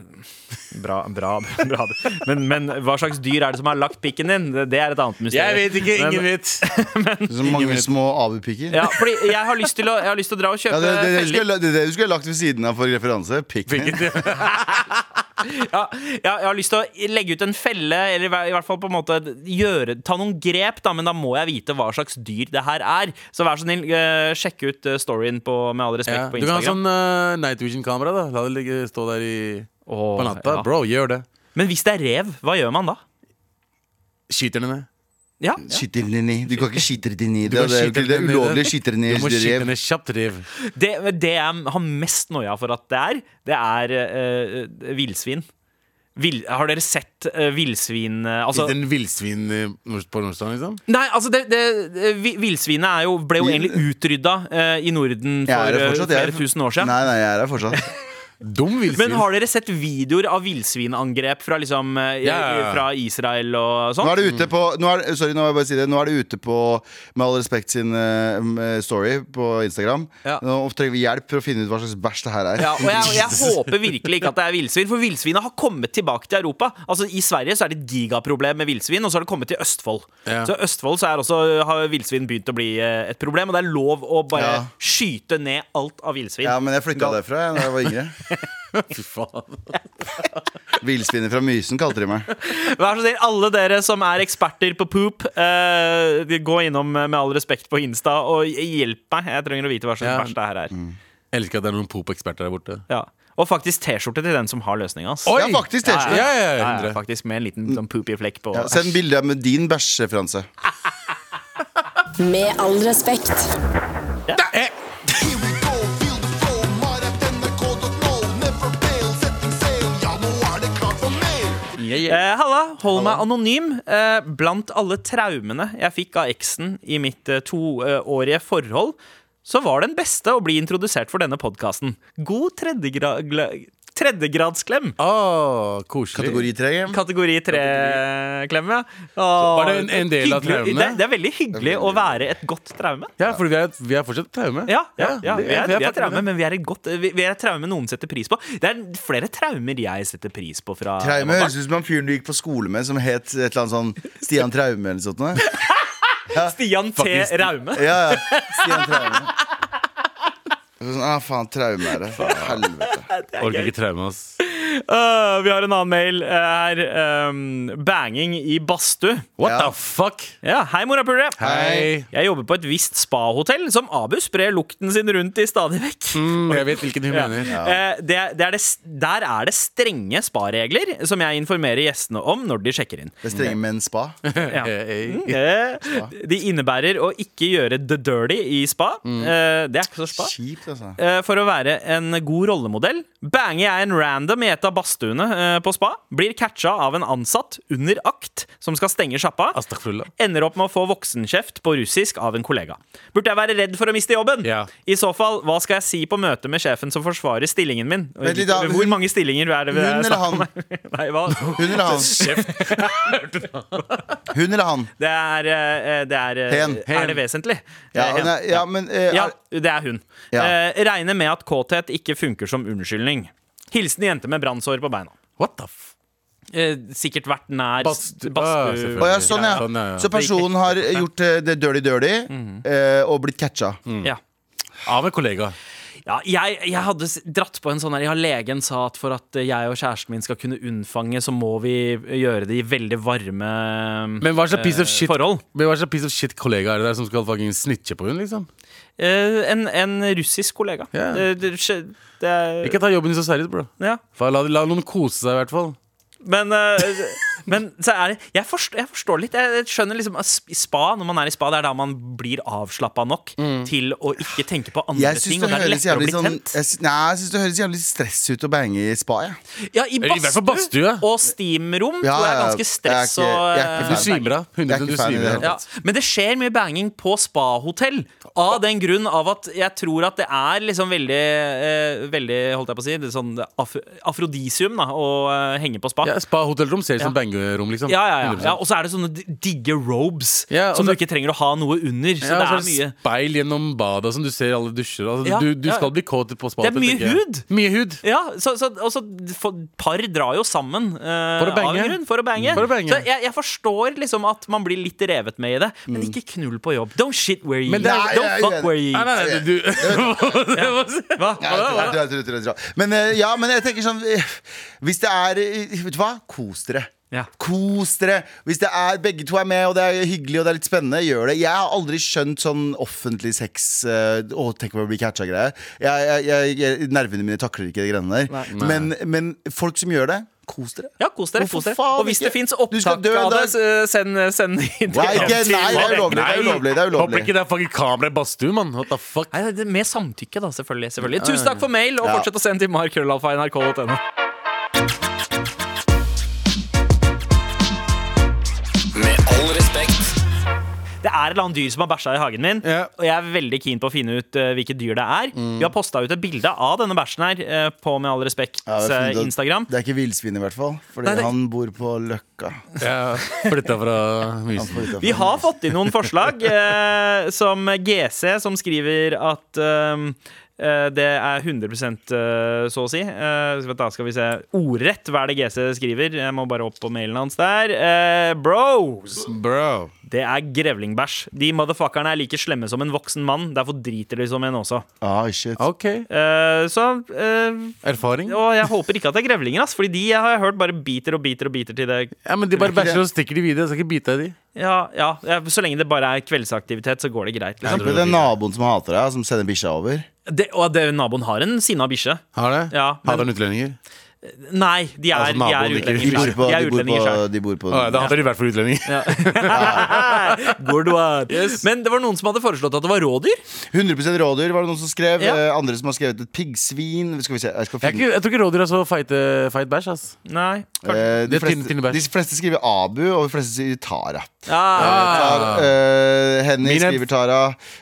Bra, bra, [laughs] bra. Men, men hva slags dyr er det som har lagt pikken din? Det- Det er et annet mysterium. Jeg vet ikke, Men- ingen vet. [laughs] Så mange små abupiker. Ja, fordi jeg har lyst til å, jeg har lyst til å dra og Ja, kjøpe det, det, det, du feller. skulle, det, det du skulle lagt ved siden av for referanse. Pikken din. Ja, ja, jeg har lyst til å legge ut en felle, eller i hver- i hvert fall på en måte gjøre, ta noen grep, da, men da må jeg vite hva slags dyr det her er. Så vær så snill, eh, sjekk ut eh, storyen på, med all respekt Ja. på Du kan ha Instagram. sånn eh, night vision-kamera. da La det ligge, stå der i, Åh, på natta. ja. Bro, gjør det. Men hvis det er rev, hva gjør man da? Skyter den ned. Ja, Skyter den i. Du kan ikke skyte den i. Det, er- kan det, er- skyte det er den i. ulovlig å skyte den i. Du må skyte rev. den ned kjapt, rev. det, det jeg har mest noia for at det er, det er eh, eh, villsvin. Vil, har dere sett uh, villsvin eh, altså, Litt en villsvin eh, nord- på Nordstrand, liksom? Nei, altså det, det, det- vi- Villsvinet er jo, ble jo egentlig utrydda eh, i Norden for Jeg er her eh, fortsatt, jeg er- flere tusen år siden. Nei, nei, jeg er her fortsatt. Dum villsvin. Men har dere sett videoer av villsvinangrep fra, liksom, eh, Ja, ja, ja. fra Israel og Nå sånn? er det ute på nå er, Sorry, nå må jeg bare si det. Nå er det ute på Med all respekt sin eh, story på Instagram. Ja. Nå trenger vi hjelp for å finne ut hva slags bæsj det her er. Ja, og jeg, jeg håper virkelig ikke at det er villsvin, for villsvinet har kommet tilbake til Europa. Altså I Sverige så er det et gigaproblem med villsvin, og så har det kommet til Østfold. Ja. Så i Østfold så er også, har villsvin begynt å bli eh, et problem, og det er lov å bare Ja. skyte ned alt av villsvin. Ja, men jeg flytta derfra jeg, da jeg var yngre. [laughs] Fy [laughs] faen. Villsviner fra Mysen kalte de meg. Vær så snill, alle dere som er eksperter på poop, eh, gå innom eh, med all respekt på Insta og hjelp meg. Jeg trenger å vite hva slags Ja. bæsj det her er. Elsker at det er noen pop-eksperter der borte. Ja. Og faktisk T-skjorte til den som har løsninga. ass. Ja, faktisk T-skjorte. Ja, ja, ja, Ja, ja, 100. faktisk med en liten sånn poopy flekk på. Ja, send bilde med din bæsjereferanse. Med all respekt. Eh, Eh, Halla, hold meg anonym. Eh, blant alle traumene jeg fikk av eksen i mitt eh, toårige forhold, så var den beste å bli introdusert for denne podkasten. God tredjegra gla- tredjegradsklem. Å, koselig. Kategori tre. Jim. Mm. Kategori tre-klem, ja. Åh, var det en- en del av hyggelig- traumene? Det, det er veldig hyggelig å være et godt traume. Ja, for vi er, vi er fortsatt traume. Ja, ja, ja. det- Vi, er, vi er faktisk traume, det. men vi er, et godt, vi, vi er et traume noen setter pris på. Det er flere traumer jeg setter pris på fra Traume høres ut som han fyren du gikk på skole med, som het et eller annet sånn Stian Traume eller sånt noe sånt. Stian T. Faktisk. Raume. Ja, ja. Stian Traume. Det var Sånn, ah, faen, traume er det. Helvete. Orker ikke traume, ass. Øh, vi har en annen mail eh, her. ehm, banging i badstue. What Ja. the fuck? Ja, hei, morapulere. Hei. Jeg jobber på et visst spahotell som Abu sprer lukten sin rundt i stadig vekk. Mm, jeg vet hvilken hun Ja. mener. Eh, det, det er det, der er det strenge sparegler som jeg informerer gjestene om når de sjekker inn. Det er strenge menn spa. Ja. Hey. Eh, de innebærer å ikke gjøre the dirty i spa. Eh, det er ikke så spa. Kjipt, altså. Eh, For å være en god rollemodell banger jeg en random i et av badstuene eh, på spa. Blir catcha av en ansatt under akt som skal stenge sjappa. Astaghfirullah. Ender opp med å få voksenkjeft på russisk av en kollega. Burde jeg være redd for å miste jobben? Ja. I så fall, hva skal jeg si på møte med sjefen som forsvarer stillingen min? Eh, Vent litt da, Hvor hun- mange stillinger er det vi Hun eller snakker om han? her? [laughs] Nei, hva? Hun eller [laughs] han? Hun eller han? Det er, eh, det er, eh, Hen. er det vesentlig? Ja, Eh, hen. nei, ja men eh, Ja, er- det er hun. Ja. Eh, regner med at kåthet ikke funker som unnskyldning. Hilsen jente med brannsår på beina. What the f... Eh, sikkert vært nær Badstu- badstu- Ah, Å selvfølgelig. ja, sånn, ja. Sånn, ja, ja. Så personen har Mhm. Mm. eh, gjort eh, det dirty dirty eh, og blitt catcha. ja. Av en kollega. Ja, jeg, jeg hadde s- dratt på en sånn her Ja, legen sa at for at eh, jeg og kjæresten min skal kunne unnfange, så må vi eh, gjøre det i veldig varme Men hva slags piece of eh, shit forhold. Men hva slags piece of shit kollega er det der som skal fucking snitche på henne? liksom? Eh, en, en russisk kollega. Ja. Det, det, skje- det er Ikke ta jobben din så seriøst, bro. Ja. Fa- La, la noen kose seg, i hvert fall. Men, eh, men så er det jeg forstår, jeg forstår litt. Jeg, jeg skjønner liksom at sp- spa, Når man er i spa, det er da man blir avslappa nok til å ikke tenke på Mm. andre Jeg syns ting. det, Og det er høres lettere å jævlig bli sånn tent. jeg, sy- Nei, jeg synes det høres jævlig stress ut å bange i spa, jeg. Ja, i Eller i hvert fall badstue badstue. og steamrom Ja, tror jeg er ja, ganske jeg er stress ikke- jeg er Du ikke og fan. eh, svimer av. Jeg er 100 ikke du fan i svimer det av. hele ja. Men det skjer mye banging på spahotell. Av den grunn av at jeg tror at det er liksom veldig, eh, veldig holdt jeg på å si, det er sånn af afrodisium da, å eh, henge på spa. Ja, Spa-hotellrom ser ut som Ja. bangerom, liksom. Ja, ja, ja. 100%. ja Og så er det sånne di- digge robes Ja, og som du ikke det- trenger å ha noe under. Så Ja, det og er så mye Speil gjennom badet som du ser alle dusjer. Altså, Ja, du, du ja. skal bli kåt på spa. Det er mye hud. Mye hud. ja, så, så, og så for, Par drar jo sammen eh, For å av bange. en grunn for å bange. For å bange. Så jeg, jeg forstår liksom at man blir litt revet med i det, men ikke knull på jobb. Don't shit where you Mm. eat. Men det er- Nei, jeg er Don't fuck enig. where you Nei, eat. nei, nei, du [laughs] Hva? Ja, jeg tror- jeg tror- jeg tror- jeg tror- Men eh, ja, men jeg tenker sånn eh, Hvis det er eh, Vet du hva? Kos dere. Ja. Kos dere. Hvis det er begge to er med, og det er hyggelig og det er litt spennende, gjør det. Jeg har aldri skjønt sånn offentlig sex eh, Å, tenk om jeg blir catcha-greie. Jeg, jeg, jeg, nervene mine takler ikke de greiene der. Men, men folk som gjør det, kos dere. Ja, kos dere. Hvorfor kos dere. faen Og hvis det ikke? fins Du skal opptak dø av en det, dag. så send, send i Nei, ikke, til- nei, det er ulovlig. Det er ulovlig, det er Håper ulovlig. ikke det er fucking kamera i badstue, mann. What the fuck? Nei, det er Med samtykke, da, selvfølgelig. selvfølgelig. Tusen takk for mail, og fortsett å sende til markrøllalfa.nrk.no. Med all respekt. Det er et eller annet dyr som har bæsja i hagen min, Ja. og jeg er veldig keen på å finne ut eh, hvilket dyr det er. Mm. Vi har posta ut et bilde av denne bæsjen her eh, på Med all respekt Ja, det er eh, fint at- Instagram. Det er ikke villsvin i hvert fall, fordi Nei, det- han bor på [laughs] Løkka. Ja, Flytta fra mysen. Vi har fått inn noen [laughs] forslag, eh, som GC, som skriver at ehm, eh, det er 100 eh, så å si. Eh, så da skal vi se ordrett hva er det GC skriver. Jeg må bare opp på mailen hans der. Eh, bros! Bro. Det er grevlingbæsj. De motherfuckerne er like slemme som en voksen mann. Derfor driter de som en også. Ah, shit. OK. Eh, så eh, Erfaring? Og jeg håper ikke at det er grevlinger, ass, fordi de har jeg hørt bare biter og biter og biter til det Ja, men De bare bæsjer og stikker de videre. Jeg skal ikke bite i de. Ja, ja, ja Så lenge det bare er kveldsaktivitet, så går det greit. Liksom. Det er den naboen som hater deg, som sender bikkja over. Det, og det, naboen har en sinna bikkje. Har det? Ja, men- Hater han utlendinger? Nei, de er, Altså, naboen de er liker- De bor utlendinger. på, selv. De er de bor utlendinger på, selv. de bor på Å, ja, da hater de i hvert fall utlendinger. [laughs] Good one. Men det var noen som hadde foreslått at det var rådyr. 100 rådyr var det noen som skrev. Ja. Eh, Andre som har skrevet et piggsvin. Skal vi se, jeg skal Jeg, er finne ikke, jeg tror ikke rådyr er så feite, feit bæsj. ass Nei, kanskje Eh, de, Det er tynne- fleste, tynne bær. de fleste skriver Abu, og de fleste sier Tara. ja, Tar- eh, Henny Min en. skriver Tara.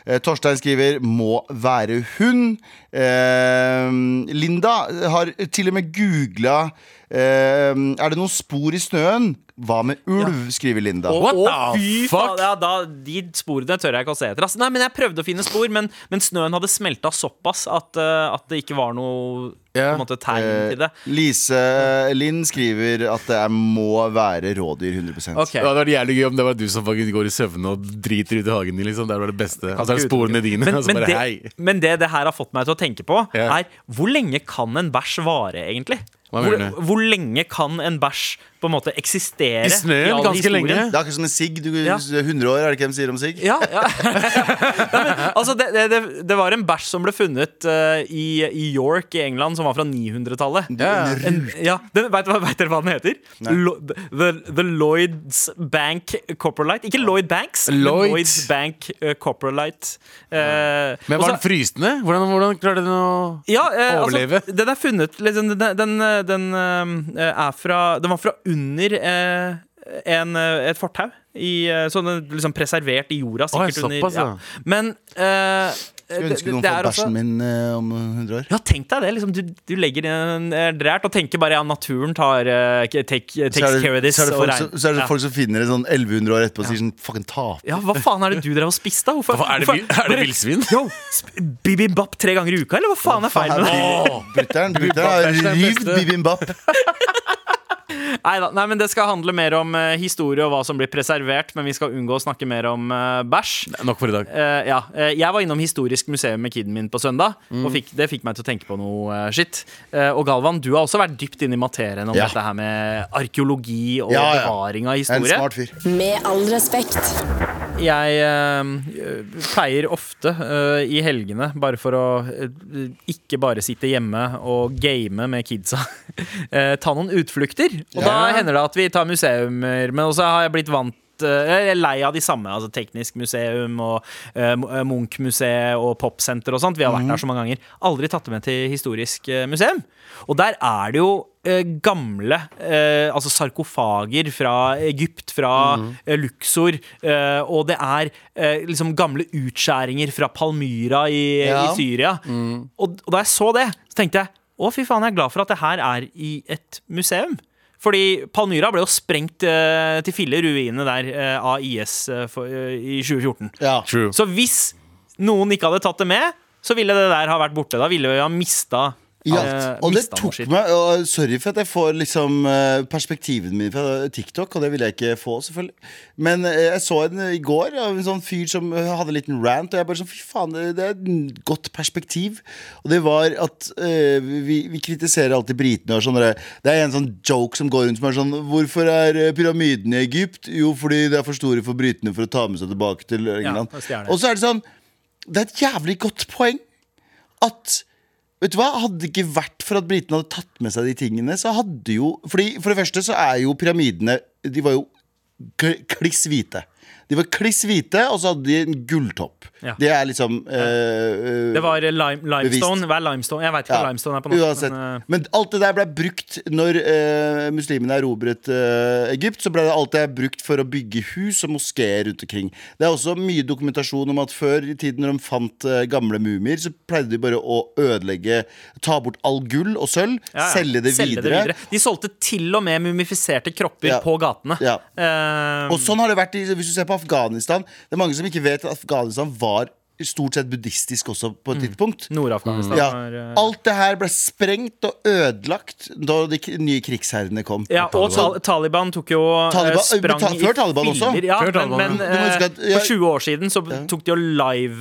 Eh, Torstein skriver 'må være hun'. Eh, Linda har til og med googla eh, 'er det noen spor i snøen'? Hva med ulv? skriver Linda. Å, What å, the fy faen, fuck? Ja, da, de sporene tør jeg ikke å se etter. ass. Nei, men Jeg prøvde å finne spor, men, men snøen hadde smelta såpass at, eh, at det ikke var noe Ja. på eh, en måte, tegn til det. Lise Linn skriver at det er 'må være rådyr'. 100 Ok. Det hadde vært jævlig gøy om det var du som fucking går i søvne og driter ut i hagen din. liksom Det var det beste. Og så er det sporene dine. Men, og så men, bare, det, hei men det det her har fått meg til å tenke på, Ja. er hvor lenge kan en bæsj vare, egentlig? Hva hvor, mener du? hvor lenge kan en bæsj på en måte eksistere? I snøen? all Ganske historien? lenge? Det er akkurat som en sigg. Du, Ja. 100 år, er det ikke de sier om sigg? [laughs] Ja, ja. Nei, men, altså det, det, det- det var en bæsj som ble funnet eh, i, i York i England, som var fra 900-tallet. En- Ja, den- Vet dere hva- vet dere hva den heter? Lo, the, the Lloyds Bank Copperlight. Ikke Lloyd Banks, men Lloyds. Lloyds Bank uh, Copperlight. Eh, og så- Men var den frysende? Hvordan, hvordan klarte den å Ja, eh, Overleve. altså, den er funnet liksom, Den, den, den, eh, er fra Den var fra under eh, en, eh, et fortau. I, eh, sånn eh, liksom preservert i jorda, Oi, sikkert. under, såpass, ja. ja. Men eh, Skulle ønske noen det fant er også- bæsjen min eh, om 100 år. ja, tenk deg det. Liksom, du, du legger en eh, drært og tenker bare ja, naturen tar eh, k- take, takes Så er, care of det, this. så, er det og folk, regn. som- så er det ja. folk som finner det sånn 1100 år etterpå og sier sånn Fucking tap. ja, hva faen er det du drev og spiste, da? Hvorfor, Hva, Er det, vil- er det villsvin? Yo, sp- bibimbap tre ganger i uka, eller hva faen er feil med det? Brutter'n brutter'n har Bibimbap er det rivd beste. bibimbap. Neida, nei, men Det skal handle mer om eh, historie og hva som blir preservert, men vi skal unngå å snakke mer om eh, bæsj. Nok for i dag. Eh, ja, eh, Jeg var innom Historisk museum med kiden min på søndag, Mm. og fikk, det fikk meg til å tenke på noe eh, skitt. Eh, og Galvan, du har også vært dypt inne i materien om Ja. dette her med arkeologi og Ja, ja. bevaring av En historie. smart fyr. Med all respekt. Jeg eh, pleier ofte eh, i helgene, bare for å eh, ikke bare sitte hjemme og game med kidsa, [laughs] eh, ta noen utflukter. Og da hender det at vi tar museumer, men også har jeg blitt vant eh, jeg er lei av de samme. altså Teknisk museum og eh, Mo- eh, Munch-museet og popsenter og sånt. Vi har vært der så mange ganger. Aldri tatt det med til historisk eh, museum. Og der er det jo eh, gamle eh, altså sarkofager fra Egypt, fra eh, Luxor, eh, og det er eh, liksom gamle utskjæringer fra Palmyra i, Ja. Mm. i Syria. Og, og da jeg så det, så tenkte jeg å, fy faen, jeg er glad for at det her er i et museum. Fordi Palmyra ble jo sprengt eh, til fille, ruinene der, eh, av IS eh, for, eh, i 2014. Ja. True. Så hvis noen ikke hadde tatt det med, så ville det der ha vært borte. Da ville vi ha mista Ja, eh, og det mista noe tok skitt. meg og Sorry for at jeg får liksom eh, perspektivet mitt fra TikTok, og det ville jeg ikke få, selvfølgelig. Men eh, jeg så en i går av en sånn fyr som eh, hadde en liten rant, og jeg bare sånn Fy faen, det, det er et godt perspektiv. Og det var at eh, vi, vi kritiserer alltid britene og sånn der- Det er en sånn joke som går rundt som er sånn Hvorfor er eh, pyramidene i Egypt? Jo, fordi de er for store for britene for å ta med seg tilbake til England. og stjerne. og så er det sånn Det er et jævlig godt poeng at Vet du hva, Hadde det ikke vært for at britene hadde tatt med seg de tingene, så hadde jo fordi For det første så er jo pyramidene De var jo kl- kliss hvite. De var kliss hvite, og så hadde de en gulltopp. Ja. Det er liksom eh, eh, Det var eh, lime, limestone. Hva er limestone? Jeg veit ikke hva ja, limestone er på norsk. Uansett. men, eh, Men alt det der ble brukt når eh, muslimene erobret eh, Egypt. Så ble det alt det er brukt for å bygge hus og moskeer rundt omkring. Det er også mye dokumentasjon om at før i tiden når de fant eh, gamle mumier, så pleide de bare å ødelegge Ta bort all gull og sølv, ja, ja. selge det videre. De solgte til og med mumifiserte kropper Ja. på gatene. Ja. Eh, Og sånn har det vært i, Hvis du ser på Afghanistan Det er mange som ikke vet at Afghanistan var stort sett buddhistisk også på Mm. et tidspunkt. Nord-Afghanistan Ja. var, eh, Alt det her ble sprengt og ødelagt da de k- nye krigsherrene kom. Ja, og Tal Taliban tok jo eh, Taliban- sprang men ta- før i Taliban også. filler. Ja, Før Taliban, men, Du må men huske eh, at- ja. Mm. for 20 år siden så tok de jo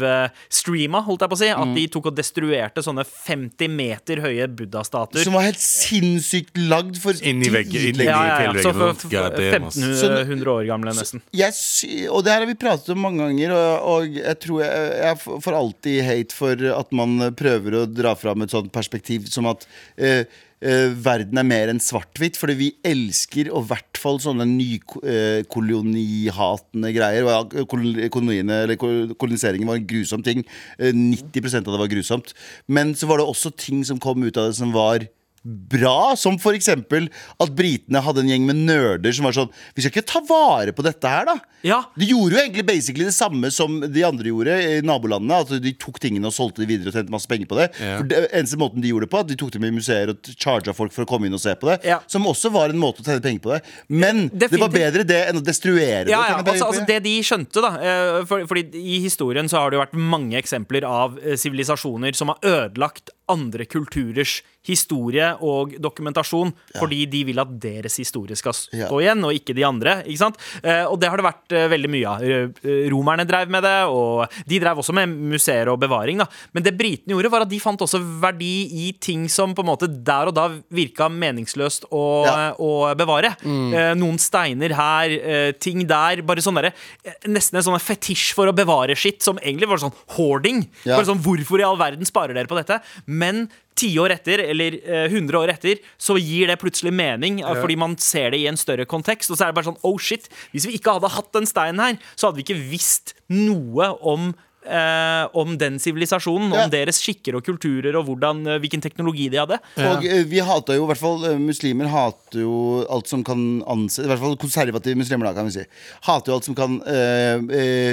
livestreama, holdt jeg på å si. At de tok og destruerte sånne 50 meter høye buddha-statuer. Som var helt sinnssykt lagd for Inn i veggen, inn i- dritlenge. Ja, ja, ja. Så for, for God damn, ass. 1500 år gamle, nesten. jeg sy og det her har vi pratet om mange ganger, og, og jeg tror jeg, jeg får alltid hate for at man prøver å dra fram et sånt perspektiv som at eh, eh, verden er mer enn svart-hvitt, fordi vi elsker og i hvert fall sånne nykolonihatende greier. Og ja, kol- koloniene, eller kol- koloniseringen var en grusom ting. Eh, 90 av det var grusomt. Men så var det også ting som kom ut av det som var bra, som for eksempel at britene hadde en gjeng med nerder som var sånn Vi skal ikke ta vare på dette her, da. Ja. De gjorde jo egentlig basically det samme som de andre gjorde i nabolandene. At de tok tingene og solgte de videre og tjente masse penger på det. Ja. For det eneste måten de gjorde det på, at de tok dem i museer og charga folk for å komme inn og se på det. Ja. Som også var en måte å tjene penger på det. Men det var Definitivt. bedre det enn å destruere det. Ja, ja. og tjene penger Altså, på altså det. det de skjønte, da eh, for, Fordi i historien så har det jo vært mange eksempler av eh, sivilisasjoner som har ødelagt andre kulturers historie og dokumentasjon fordi de vil at deres historie skal stå Ja. igjen, og ikke de andre. Ikke sant? Eh, Og det har det vært eh, veldig mye av. Eh, Romerne drev med det, og de drev også med museer og bevaring. Da. Men det britene gjorde, var at de fant også verdi i ting som på en måte der og da virka meningsløst å, Ja. Mm. å bevare. Eh, Noen steiner her, eh, ting der. Bare sånn derre eh, Nesten en sånn fetisj for å bevare skitt, som egentlig var sånn hoarding. Ja. Bare sånn, hvorfor i all verden sparer dere på dette? Men tiår etter, eller eh, 100 år etter, så gir det plutselig mening, eh, fordi man ser det i en større kontekst. Og så er det bare sånn, oh shit, hvis vi ikke hadde hatt den steinen her, så hadde vi ikke visst noe om eh, om den sivilisasjonen, Ja. om deres skikker og kulturer og hvordan, eh, hvilken teknologi de hadde. Og eh, vi hater jo, i hvert fall eh, muslimer hater jo alt som kan anses I hvert fall konservative muslimer, da, kan vi si. Hater jo alt som kan eh, eh,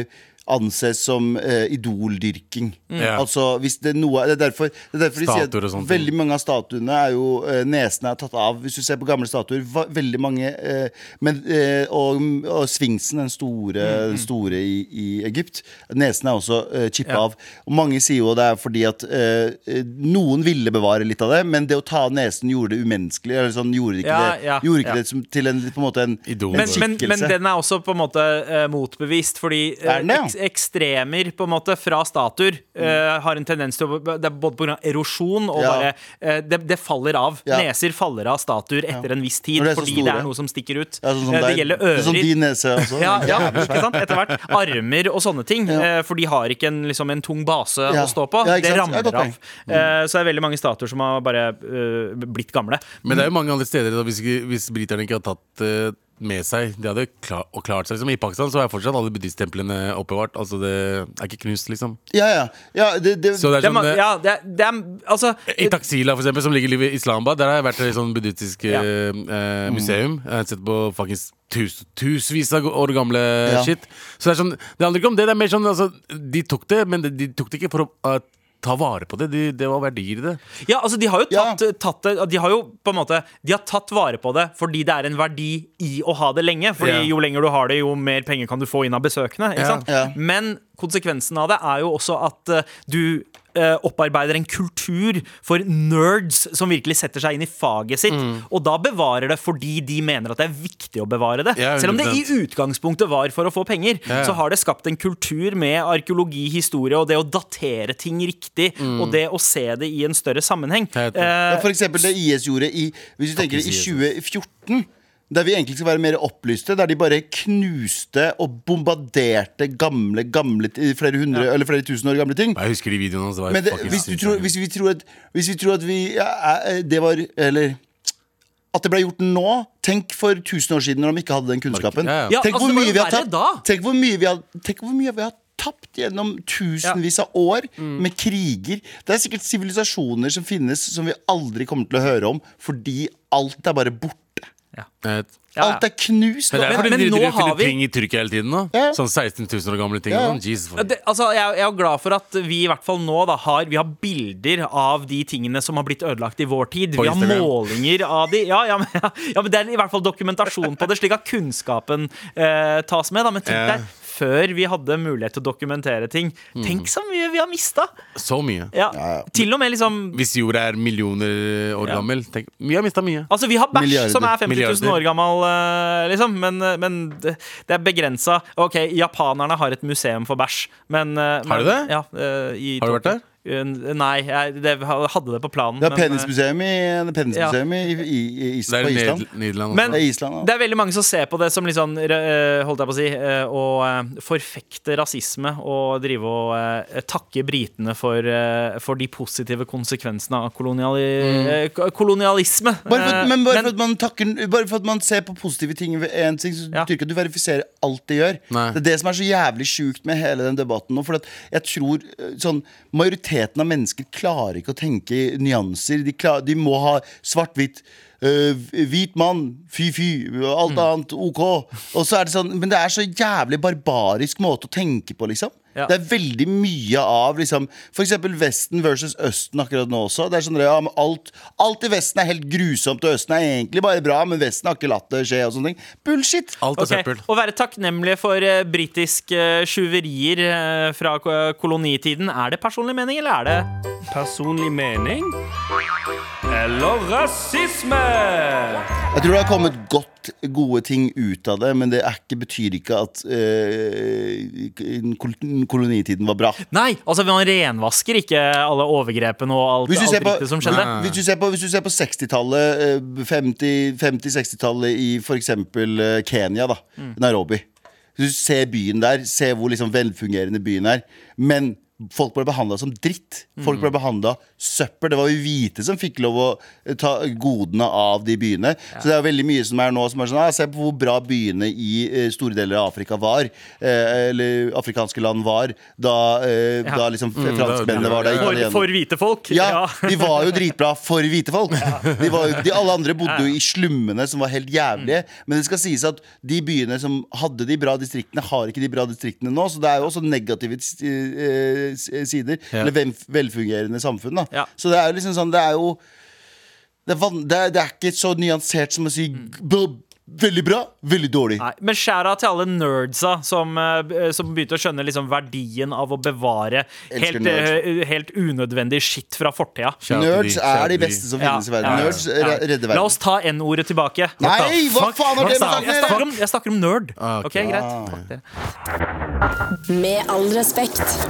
anses som eh, idoldyrking. Ja. Altså hvis det er noe Det er derfor, det er derfor de sier Statuer og sånne at veldig mange av statuene er jo eh, Nesene er tatt av. Hvis du ser på gamle statuer, va, veldig mange eh, men, eh, Og, og sfinksen, den store, Mm, den store i, i Egypt, nesene er også eh, chippa av. Og mange sier jo det er fordi at eh, eh, noen ville bevare litt av det, men det å ta av nesen gjorde det umenneskelig. Eller sånn, gjorde ikke Ja, det, ja, gjorde ikke ja. det som, til en, på en måte en, Idol. en Men, men, men skikkelse. den er også på en måte eh, motbevist, fordi eh, Er den det, ja? Mm. eks ekstremer på en måte fra statuer eh, har en tendens til å Det er både pga. erosjon og Ja. bare eh, det, det faller av. Ja. Neser faller av statuer etter en viss tid Når det er så fordi store. det er noe som stikker ut. Ja, sånn som Eh, det deg. gjelder Sånn som ører. din nese også. Ja, ja, ikke sant? Etter hvert. Armer og sånne ting. Ja. eh, For de har ikke en, liksom, en tung base Ja. å stå på. Ja, ikke sant? det Ja, ramler godt av. poeng. Mm. Eh, Så det er veldig mange statuer som har bare eh, blitt gamle. Men det er jo mange andre steder da, hvis, ikke- hvis briterne ikke hadde tatt eh, med seg De hadde klar, og klart seg liksom. I Pakistan så er fortsatt alle buddhisttemplene oppbevart. Altså Det er ikke knust, liksom. Ja, ja. ja det, det, Så det er Det er, sånn ma- eh, ja, det er, det er altså I Taxila, for eksempel, som ligger i Islamabad, der har jeg vært i sånn buddhistisk Ja. eh, eh, museum. Jeg har sett på faktisk tus, tusenvis av år gamle Ja. shit. Så det er sånn Det handler ikke om det. Det er mer sånn altså, De tok det, men de, de tok det ikke for å eh, ta vare på det. De, det var verdier i det. Ja, altså de har jo Ja. tatt, tatt det De har jo på en måte De har tatt vare på det fordi det er en verdi i å ha det lenge. Fordi Ja. jo lenger du har det, jo mer penger kan du få inn av besøkende. Ikke Ja. sant? Ja. Men konsekvensen av det er jo også at eh, du eh, opparbeider en kultur for nerds som virkelig setter seg inn i faget sitt. Mm. Og da bevarer det fordi de mener at det er viktig å bevare det. Ja, Selv om det i 100%. utgangspunktet var for å få penger, ja. så har det skapt en kultur med arkeologi, historie og det å datere ting riktig, og det å se det i en større sammenheng. Mm. Eh, Helt ja, for eksempel det IS gjorde i Hvis du tenker i 2014 der vi egentlig skal være mer opplyste, der de bare knuste og bombarderte gamle, gamle eh, flere hundre eller flere tusen år gamle ting. Jeg husker de videoene hans. det var Men det, fucking hvis, du sinnssykt. tror, hvis vi tror at Hvis vi tror at vi ja, er- Det var Eller at det ble gjort nå Tenk for tusen år siden når de ikke hadde den kunnskapen Ja, ja. Ja, tenk, hvor altså, det var mye jo vi har verre tapt, da. tenk hvor mye vi har Tenk hvor mye vi har tapt gjennom tusenvis av år Mm. Med kriger Det er sikkert sivilisasjoner som finnes Som vi aldri kommer til å høre om Fordi alt er bare borte Jeg vet. Ja, ja. Alt er knust Men det Eh, er Men- fordi men de nå driver og har finner vi- ting i Tyrkia hele tiden. da Ja. Sånn 16 000 år gamle ting. Ja. Og sånn. Jesus, Ja, fuck. Det, altså, jeg, jeg er jo glad for at vi i hvert fall nå da, har, vi har bilder av de tingene som har blitt ødelagt i vår tid. På Vi har Instagram. målinger av de. Ja, ja, men, [laughs] ja, ja, men Det er i hvert fall dokumentasjon på det, slik at kunnskapen eh, tas med. Da. Men tenk Ja. Mm. deg, før vi hadde mulighet til å dokumentere ting. Tenk så mye vi har mista! Så mye. Ja, til og med liksom Hvis jorda er millioner år Ja. gammel tenk, Vi har mista mye. Altså, vi har bæsj Milliarder. som er 50 000 år Milliarder. gammel, eh, liksom, men, eh, men det det er begrensa. OK, japanerne har et museum for bæsj, men eh, Har men- de det? Ja, eh, i Har du vært Tokyo. Eh, Nei, jeg det, hadde det på planen. Det er men, eh, penismuseum i, det er penismuseum i, i, i, i, Det er på jo Island Ned- Nederland. Men Det også. er Island, ja. det er veldig mange som ser på det som litt sånn eh, Holdt jeg på å si eh, Å eh, forfekte rasisme og drive og eh, takke britene for, eh, for de positive konsekvensene av koloniali Mm. eh, ko- kolonialisme. Bare for, Eh, at- men bare, men- for at man takker, bare for at man ser på positive ting ved en ting, så Ja. betyr ikke at du verifiserer alt de gjør. Nei. Det er det som er så jævlig sjukt med hele den debatten nå. For at jeg tror eh, sånn, Majoriteten av mennesker klarer ikke å tenke i nyanser. De, klar, de må ha svart-hvitt. eh, hvit mann, fy-fy, Mm. alt annet, ok. Og så er det sånn, men det er så jævlig barbarisk måte å tenke på, liksom. Ja. Det er veldig mye av liksom, For eksempel Vesten versus Østen akkurat nå også. Det er sånn, ja, men alt, alt i Vesten er helt grusomt, og Østen er egentlig bare bra, men Vesten har ikke latt det skje. og sånne ting Bullshit! Alt er Ok, søppel. Å være takknemlige for uh, britiske eh, tjuverier eh, fra ko- kolonitiden, er det personlig mening, eller er det Personlig mening eller rasisme? Jeg tror det har kommet godt gode ting ut av det, men det er ikke, betyr ikke at eh, kol kolonitiden var bra. Nei! Altså, man renvasker ikke alle overgrepene og alt, Hvis du alt ser på- drittet som skjedde. Nei. Hvis du ser på, hvis du ser på 60-tallet, eh, 50 50-60-tallet i for eksempel eh, Kenya, da, Mm. Nairobi. Hvis du ser byen der, se hvor liksom velfungerende byen er. Men Folk ble behandla som dritt. Folk Mm. ble behandla søppel. Det var jo hvite som fikk lov å eh, ta godene av de byene. Så det er veldig mye som er nå som er sånn ah, Se på hvor bra byene i eh, store deler av Afrika var. eh, Eller afrikanske land var da, eh, Ja. Mm. da liksom franskmennene var der. For, italienerne- for hvite folk. ja, de var jo dritbra for hvite folk. De, var jo, de alle andre bodde jo i slummene, som var helt jævlige. Men det skal sies at de byene som hadde de bra distriktene, har ikke de bra distriktene nå. Så det er jo også negative eh, s- sider. Eller vel- velfungerende samfunn, da. Ja. Så det er jo liksom sånn Det er jo Det er, van, det er, det er ikke så nyansert som å si b- veldig bra, veldig dårlig. [laughs] Nei, men skjæra til alle nerdsa som, eh, som begynte å skjønne liksom verdien av å bevare Elsker helt, eh, helt unødvendig skitt fra fortida. Shout out til Nerds de, shout er de out til beste som finnes i verden. Nerds Ja. re- redder La oss verden. ta N-ordet tilbake. Nei, hva faen har det Jeg med saken å gjøre? snakker, om, jeg snakker om nerd. Ah, Ok, ok. greit. Fuck det. Med all respekt.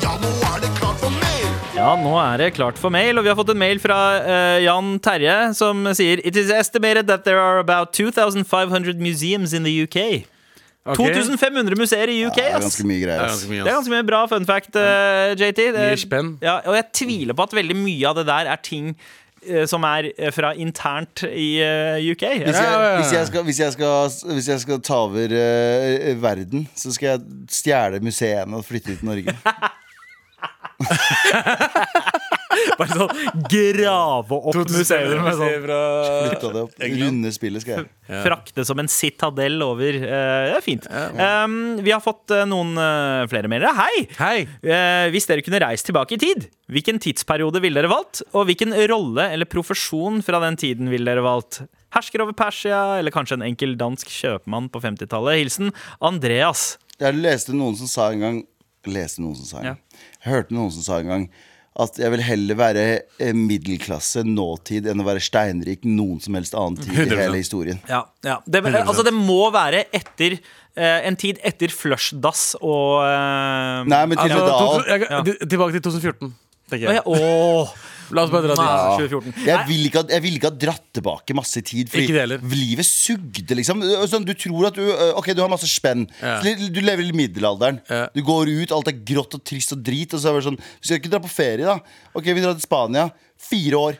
Ja, nå er det klart for mer. Ja, nå er det klart for mail, og vi har fått en mail fra eh, Jan Terje som sier It is estimated that there are about 2500 museums in the UK. Ok. 2500 museer i UK, Det er ass! ganske mye Det greier. er ass. ganske mye, Det er ass. ganske mye bra fun fact, eh, JT. Det, Mye spenn. ja, og jeg tviler på at veldig mye av det der er ting eh, som er eh, fra internt i eh, UK. Hvis Ja, jeg, ja, ja. hvis, jeg skal, hvis, jeg skal, hvis jeg skal ta over eh, verden, så skal jeg stjele museene og flytte ut [laughs] Norge. Bare sånn grave opp museer med sånn Flytte det opp. Runde spillet skal jeg. Frakte som en citadell over. eh, det er fint. Um, vi har fått eh, noen eh, flere mailere. Hei! Hei! Eh, hvis dere kunne reist tilbake i tid, hvilken tidsperiode ville dere valgt? Og hvilken rolle eller profesjon fra den tiden ville dere valgt? Hersker over Persia, eller kanskje en enkel dansk kjøpmann på 50-tallet? Hilsen Andreas. Jeg leste noen som sa en gang Leste noen som sa en gang Hørte noen som sa en gang at jeg vil heller være eh, middelklasse nåtid enn å være steinrik noen som helst annen tid i 100%. hele historien. Ja, ja. Det, altså, det må være etter eh, en tid etter flushdass og eh, Nei, men til Altså, og med to- da jeg, til- Tilbake til 2014, tenker Å, ja. jeg. Åh. La oss bare dra dit. Ah, Ja. 2014. Jeg vil, ikke, ha- jeg vil ikke ha dratt tilbake masse tid. Ikke det heller. livet sugde, liksom. Sånn, du tror at du øh, Ok, du har masse spenn. Ja. Litt- Du lever i middelalderen. Ja. Du går ut, alt er grått og trist og drit. Og så er det bare sånn Vi skal ikke dra på ferie, da. Ok, vi drar til Spania. Fire år.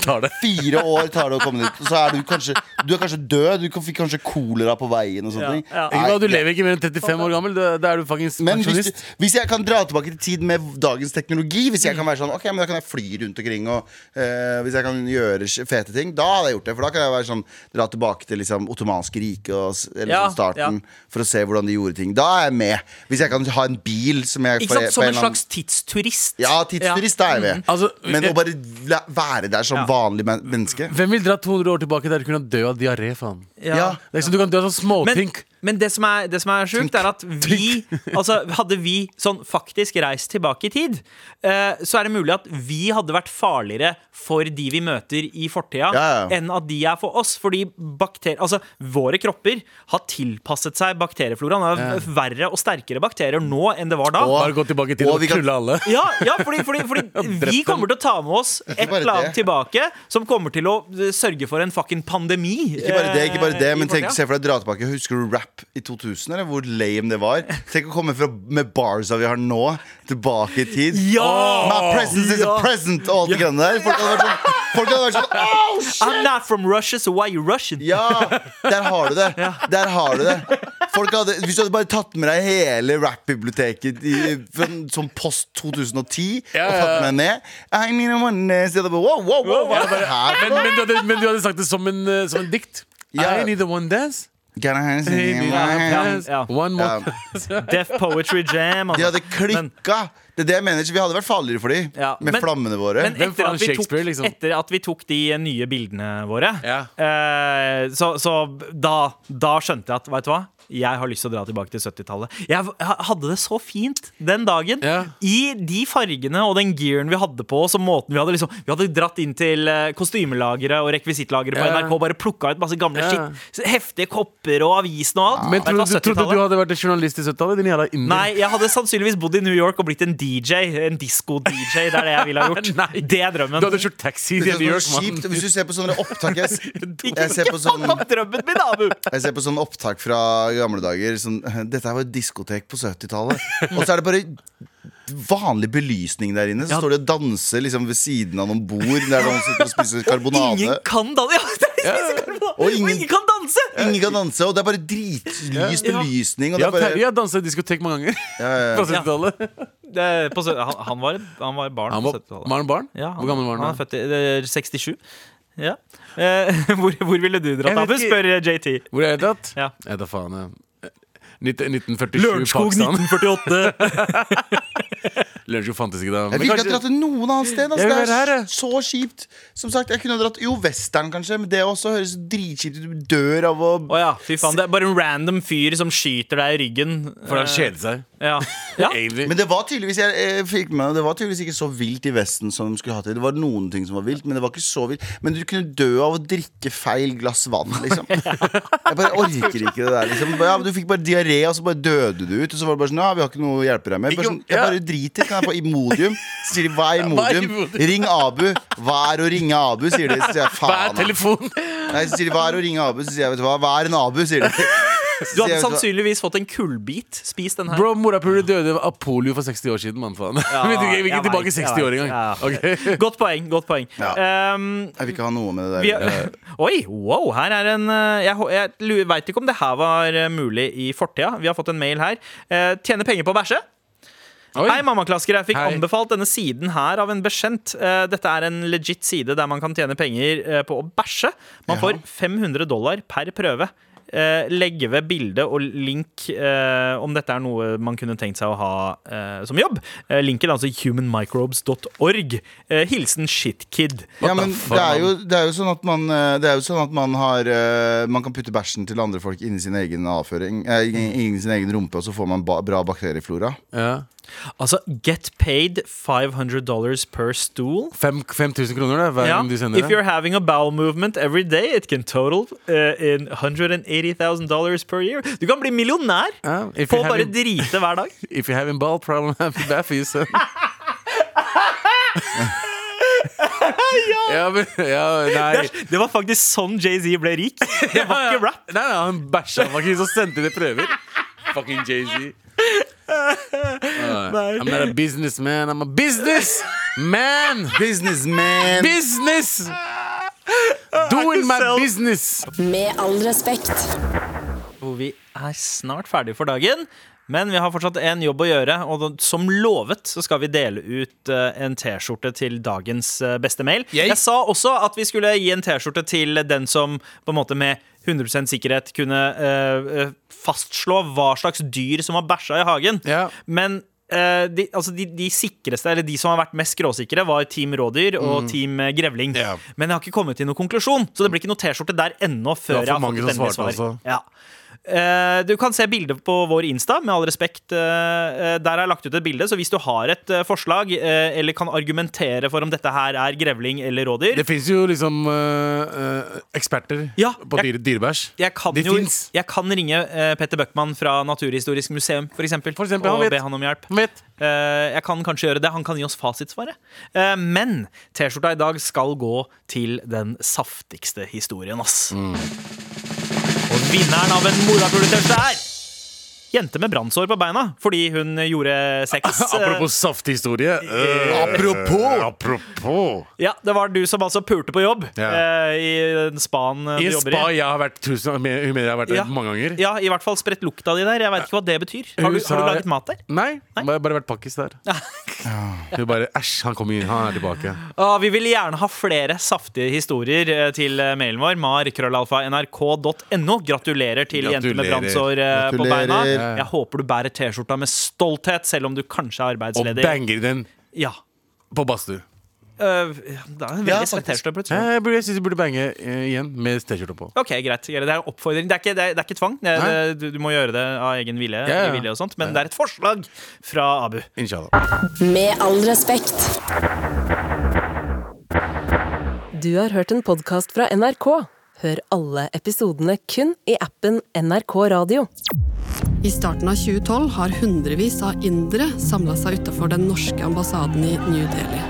Tar det. [laughs] Fire år tar det å komme dit. Og så er du kanskje Du er kanskje død. Du kan- fikk kanskje kolera på veien og sånne ting. ja. Ikke Nei, bare, du det- lever ikke mer enn 35 år gammel. Da da er du fuckings men hvis, pensjonist. du, hvis jeg kan dra tilbake til tid med dagens teknologi Hvis jeg kan være sånn, ok, men da kan jeg fly rundt omkring Og eh, hvis jeg kan gjøre s- fete ting Da hadde jeg gjort det, for da kan jeg være sånn Dra tilbake til liksom ottomanske rike og, s- Eller Ja, sånn starten, ja. for å se hvordan de gjorde ting Da er jeg med, hvis jeg kan ha en bil Som, jeg, Ikke sant? Som en eller annen- slags tidsturist. Ja, tidsturist, da er jeg med Altså, Men jeg- å bare la, være der som Ja. vanlig men menneske Hvem vil dra 200 år tilbake der du kunne dø av diaré? faen Ja. Ja. Det er ikke sånn Du kan dø av sånn Men, småtink. men det som er, det som er sjukt, er at vi [laughs] altså, Hadde vi sånn faktisk reist tilbake i tid, eh, så er det mulig at vi hadde vært farligere for de vi møter i Ja, fortida, ja. enn at de er for oss. Fordi bakter, altså, våre kropper har tilpasset seg bakteriefloraen. Det er verre og sterkere bakterier nå enn det var da. Bare gå tilbake til og og vi kan- knulle alle. Ja, ja fordi, fordi, fordi vi kommer til å ta med oss et bare eller annet det. tilbake som kommer til å eh, sørge for en fucking pandemi. Ikke bare det, ikke bare det eh, i men tenk, fortida. se for deg dra tilbake Husker du rap i 2000, eller hvor lame det var? Tenk å komme fra, med barsa vi har nå, tilbake i tid. Eh, Ja! My presence is a Ja. present og alt det greiene der. Folk hadde vært sånn, folk hadde vært sånn «Au!» I'm not from Russia, so why you Russian? Ja! Der har du det. Der har du det. Folk hadde, hvis du hadde bare tatt med deg hele rap-biblioteket i- fra som post 2010 og tatt med ned I mean, I want to see the- wow, wow, wow, hva er det her for Men, noe? men, du hadde, men du hadde sagt det som en, eh, som en dikt. Ja. I need a one dance. Can I have I some- need a one Ja. dance. One more. Ja. Deaf Poetry Jam. De Altså. [laughs] hadde klikka! Det er det jeg mener, så vi hadde vært farligere for de Ja, Med men- flammene våre. Men Hvem etter faen at, vi tok, Shakespeare, liksom? etter at vi tok de eh, nye bildene våre, Ja. eh, så, så da, da skjønte jeg at Vet du hva? Jeg har lyst til å dra tilbake til 70-tallet. Jeg v- ha- hadde det så fint den dagen. Ja. I de fargene og den gearen vi hadde på oss, og måten vi hadde liksom Vi hadde dratt inn til eh, kostymelageret og rekvisittlageret på Ja. NRK, bare plukka ut masse gamle Ja. skitt. Heftige kopper og avisen og alt. Men Vet du trodde hva, du, trodde 70-tallet? du hadde vært en journalist i 70-tallet? Din jævla inder. Nei, jeg hadde sannsynligvis bodd i New York og blitt en DJ. En disko-DJ. Det er det jeg ville ha [laughs] gjort. Det er drømmen. Du hadde kjørt taxi Det til er New York, sånn kjipt, mann. Hvis du ser på [laughs] sånne opptak Jeg, s- jeg ser på Ikke sånn faen opp drømmen min, Abu! Jeg ser på sånn opptak [laughs] fra gamle dager sånn, Dette her var et diskotek på 70-tallet Og så er det bare vanlig belysning der inne. Så Ja. står de og danser liksom, ved siden av noen bord der noen sitter og spiser karbonade. Ingen kan danse! [laughs] Ja, det er liksom- Og og ingen- ingen kan danse! Ingen kan danse, og det er bare dritlys Ja. belysning. Og det Ja, er bare, Terje har danset i diskotek mange ganger. På 70-tallet. Det, er på, sø- han, han, var, han var barn Han på var, 70-tallet. var han barn? Ja, Hvor gammel var han? han? er født i det er 67. Ja. Eh, [laughs] hvor, hvor ville du dratt Jeg av? Du vet ikke. spør eh, JT. Hvor er jeg dratt? Ja. Jeg vet da faen. jeg. 19, 1947 Pakistan. 1948. [laughs] Lørenskog fantes ikke da. Jeg Men ville ikke kanskje- ha dratt til noen annet sted. Jeg Altså. vil Det være er her, s- så kjipt. Som sagt, jeg kunne ha dratt Jo, western, kanskje, men det også høres dritkjipt ut. Du dør av å Å ja, fy faen. Det er bare en random fyr som skyter deg i ryggen. Eh, For han kjedet seg. Ja. [laughs] ja. Egentlig. Men det var tydeligvis jeg, eh, fikk med, meg, det var tydeligvis ikke så vilt i Vesten som de skulle hatt det. Det var noen ting som var vilt, men det var ikke så vilt. Men du kunne dø av å drikke feil glass vann, liksom. Jeg bare orker ikke det der, liksom. Ja, men du fikk bare diaré, og så bare døde du ut. Og så var det bare sånn Ja, vi har ikke noe å hjelpe deg med. Bare sånn, jeg bare driter. Kan jeg få Imodium? Så sier de hva er Imodium? Ring Abu. Hva er å ringe Abu, sier de. Så sier jeg Hva er faen. ass. [laughs] telefon? Nei, så sier de hva er å ringe Abu, så sier jeg vet du hva, hva er en Abu, sier de. Så sier Du hadde jeg, vet du hva, sannsynligvis fått en kullbit. Spis den her. Bro, morapuler døde av polio for 60 år siden, mann faen. [laughs] vi gikk- vi gikk jeg ikke tilbake vet, 60 år jeg vet. engang. Ok. Godt poeng. godt poeng Ja. Ehm, Jeg vil ikke ha noe med det vi der. har, [laughs] oi, wow! Her er en eh, Jeg, hå- jeg veit ikke om det her var eh, mulig i fortida. Vi har fått en mail her. Eh, Tjene penger på å bæsje? Oi. Hei, mammaklasker. Jeg fikk Hei. anbefalt denne siden her av en bekjent. Eh, Dette er en legit side der man kan tjene penger eh, på å bæsje. Man får 500 dollar per prøve. Eh, Legge ved bilde og link eh, om dette er noe man kunne tenkt seg å ha eh, som jobb. Eh, Linken er altså humanmicrobes.org. Eh, Hilsen shitkid. Ja, men det er, jo, det, er jo sånn at man, eh, det er jo sånn at man har eh, Man kan putte bæsjen til andre folk inni sin egen avføring eh, inn- Inni sin egen rumpe, og så får man ba bra bakterieflora. Ja. Altså, get paid 500 dollars per stool. Fem- 5000 kroner, da, hver Ja, gang du sender If you're having a bowel movement every day, it can total uh, in 180,000 dollars per year. Du kan bli millionær Ja, if på you å have bare a- drite hver dag. If you're having ball problem, [laughs] have it bad for [laughs] you, son. [laughs] ja, men ja, Nei. Det var faktisk sånn Jay-Z ble [laughs] rik. Det var ikke rap. Nei, nei, han bæsja faktisk og sendte det prøver. Fucking Jay-Z. Uh, I'm not a businessman, I'm a business man! Businessman! Business! Doing my business! Med all respekt. Hvor vi er snart ferdige for dagen. Men vi har fortsatt en jobb å gjøre, og da- som lovet så skal vi dele ut eh, en T-skjorte til dagens eh, beste mail. Jeg sa også at vi skulle gi en T-skjorte til den som på en måte med 100 sikkerhet kunne eh, eh, fastslå hva slags dyr som har bæsja i hagen. Ja. Men eh, de, altså de, de sikreste, eller de som har vært mest skråsikre, var Team Rådyr Mm. og Team eh, Grevling. Men jeg har ikke kommet til noen konklusjon, så det blir ikke noe T-skjorte der ennå. før for jeg har mange fått som endelig svarte, svar. altså. Ja. Eh, du kan se bildet på vår Insta, med all respekt. eh, eh, der har jeg lagt ut et bilde, så hvis du har et eh, forslag, eh, eller kan argumentere for om dette her er grevling eller rådyr Det fins jo liksom eh, eh, eksperter Ja, på jeg- dyre, dyrebæsj. jeg kan, De jo, fins. jeg kan ringe eh, Petter Bøckmann fra Naturhistorisk museum for eksempel, For eksempel, han og vet. be han om hjelp. Vet. Eh, jeg kan kanskje gjøre det. Han kan gi oss fasitsvaret. Eh, men T-skjorta i dag skal gå til den saftigste historien, ass. Og vinneren av en morapuletørste er Jente med brannsår på beina fordi hun gjorde sex. [laughs] [laughs] Apropos safthistorie. Uh, Apropos! apropos. Eh, Ja, Det var du som altså pulte på jobb Ja. eh, i den spaen eh, du I en jobber i. spa jeg har vært tusen, hun mener jeg har vært der Ja. mange ganger. Ja, i hvert fall spredt lukta di der. Jeg veit ikke hva det betyr. Har du, Hun sa- har du laget mat der? Nei, Bare, bare vært pakkis der. Hun bare Æsj, han kommer inn, han er tilbake. Ah, vi vil gjerne ha flere saftige historier eh, til eh, mailen vår. mar.krøllalfa.nrk.no. Gratulerer til jenter med Gratulerer. brannsår eh, på beina. Gratulerer. Jeg håper du bærer T-skjorta med stolthet, selv om du kanskje er Og arbeidsledig. banger den Ja. på badstue. Eh, det er en Ja, veldig svett faktisk. T-skjorte, plutselig. Jeg, burde- jeg syns du burde bange eh, igjen med T-skjorte på. Ok, greit. Det er en oppfordring. Det er ikke, det er, det er ikke tvang. Det er, Nei. du, du må gjøre det av egen vilje, Ja, ja. i vilje og sånt. men det er et forslag fra Abu. Inshallah. Med all respekt. Du har hørt en podkast fra NRK. Hør alle episodene kun i appen NRK Radio. I starten av 2012 har hundrevis av indere samla seg utenfor den norske ambassaden i New Delhi.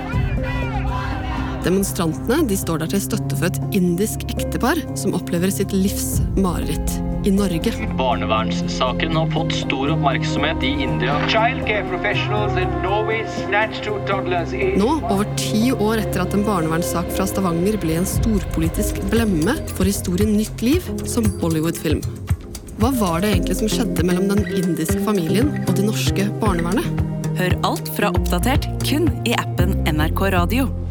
Demonstrantene de står der til støtte for et indisk ektepar som opplever sitt livs mareritt. i Norge. Barnevernssaken har fått stor oppmerksomhet i India. Childcare professionals in Norway snatch two toddlers in. Nå, over ti år etter at en barnevernssak fra Stavanger ble en storpolitisk blemme, får historien nytt liv som Bollywood-film. Hva var det egentlig som skjedde mellom den indiske familien og det norske barnevernet? Hør alt fra oppdatert kun i appen NRK Radio.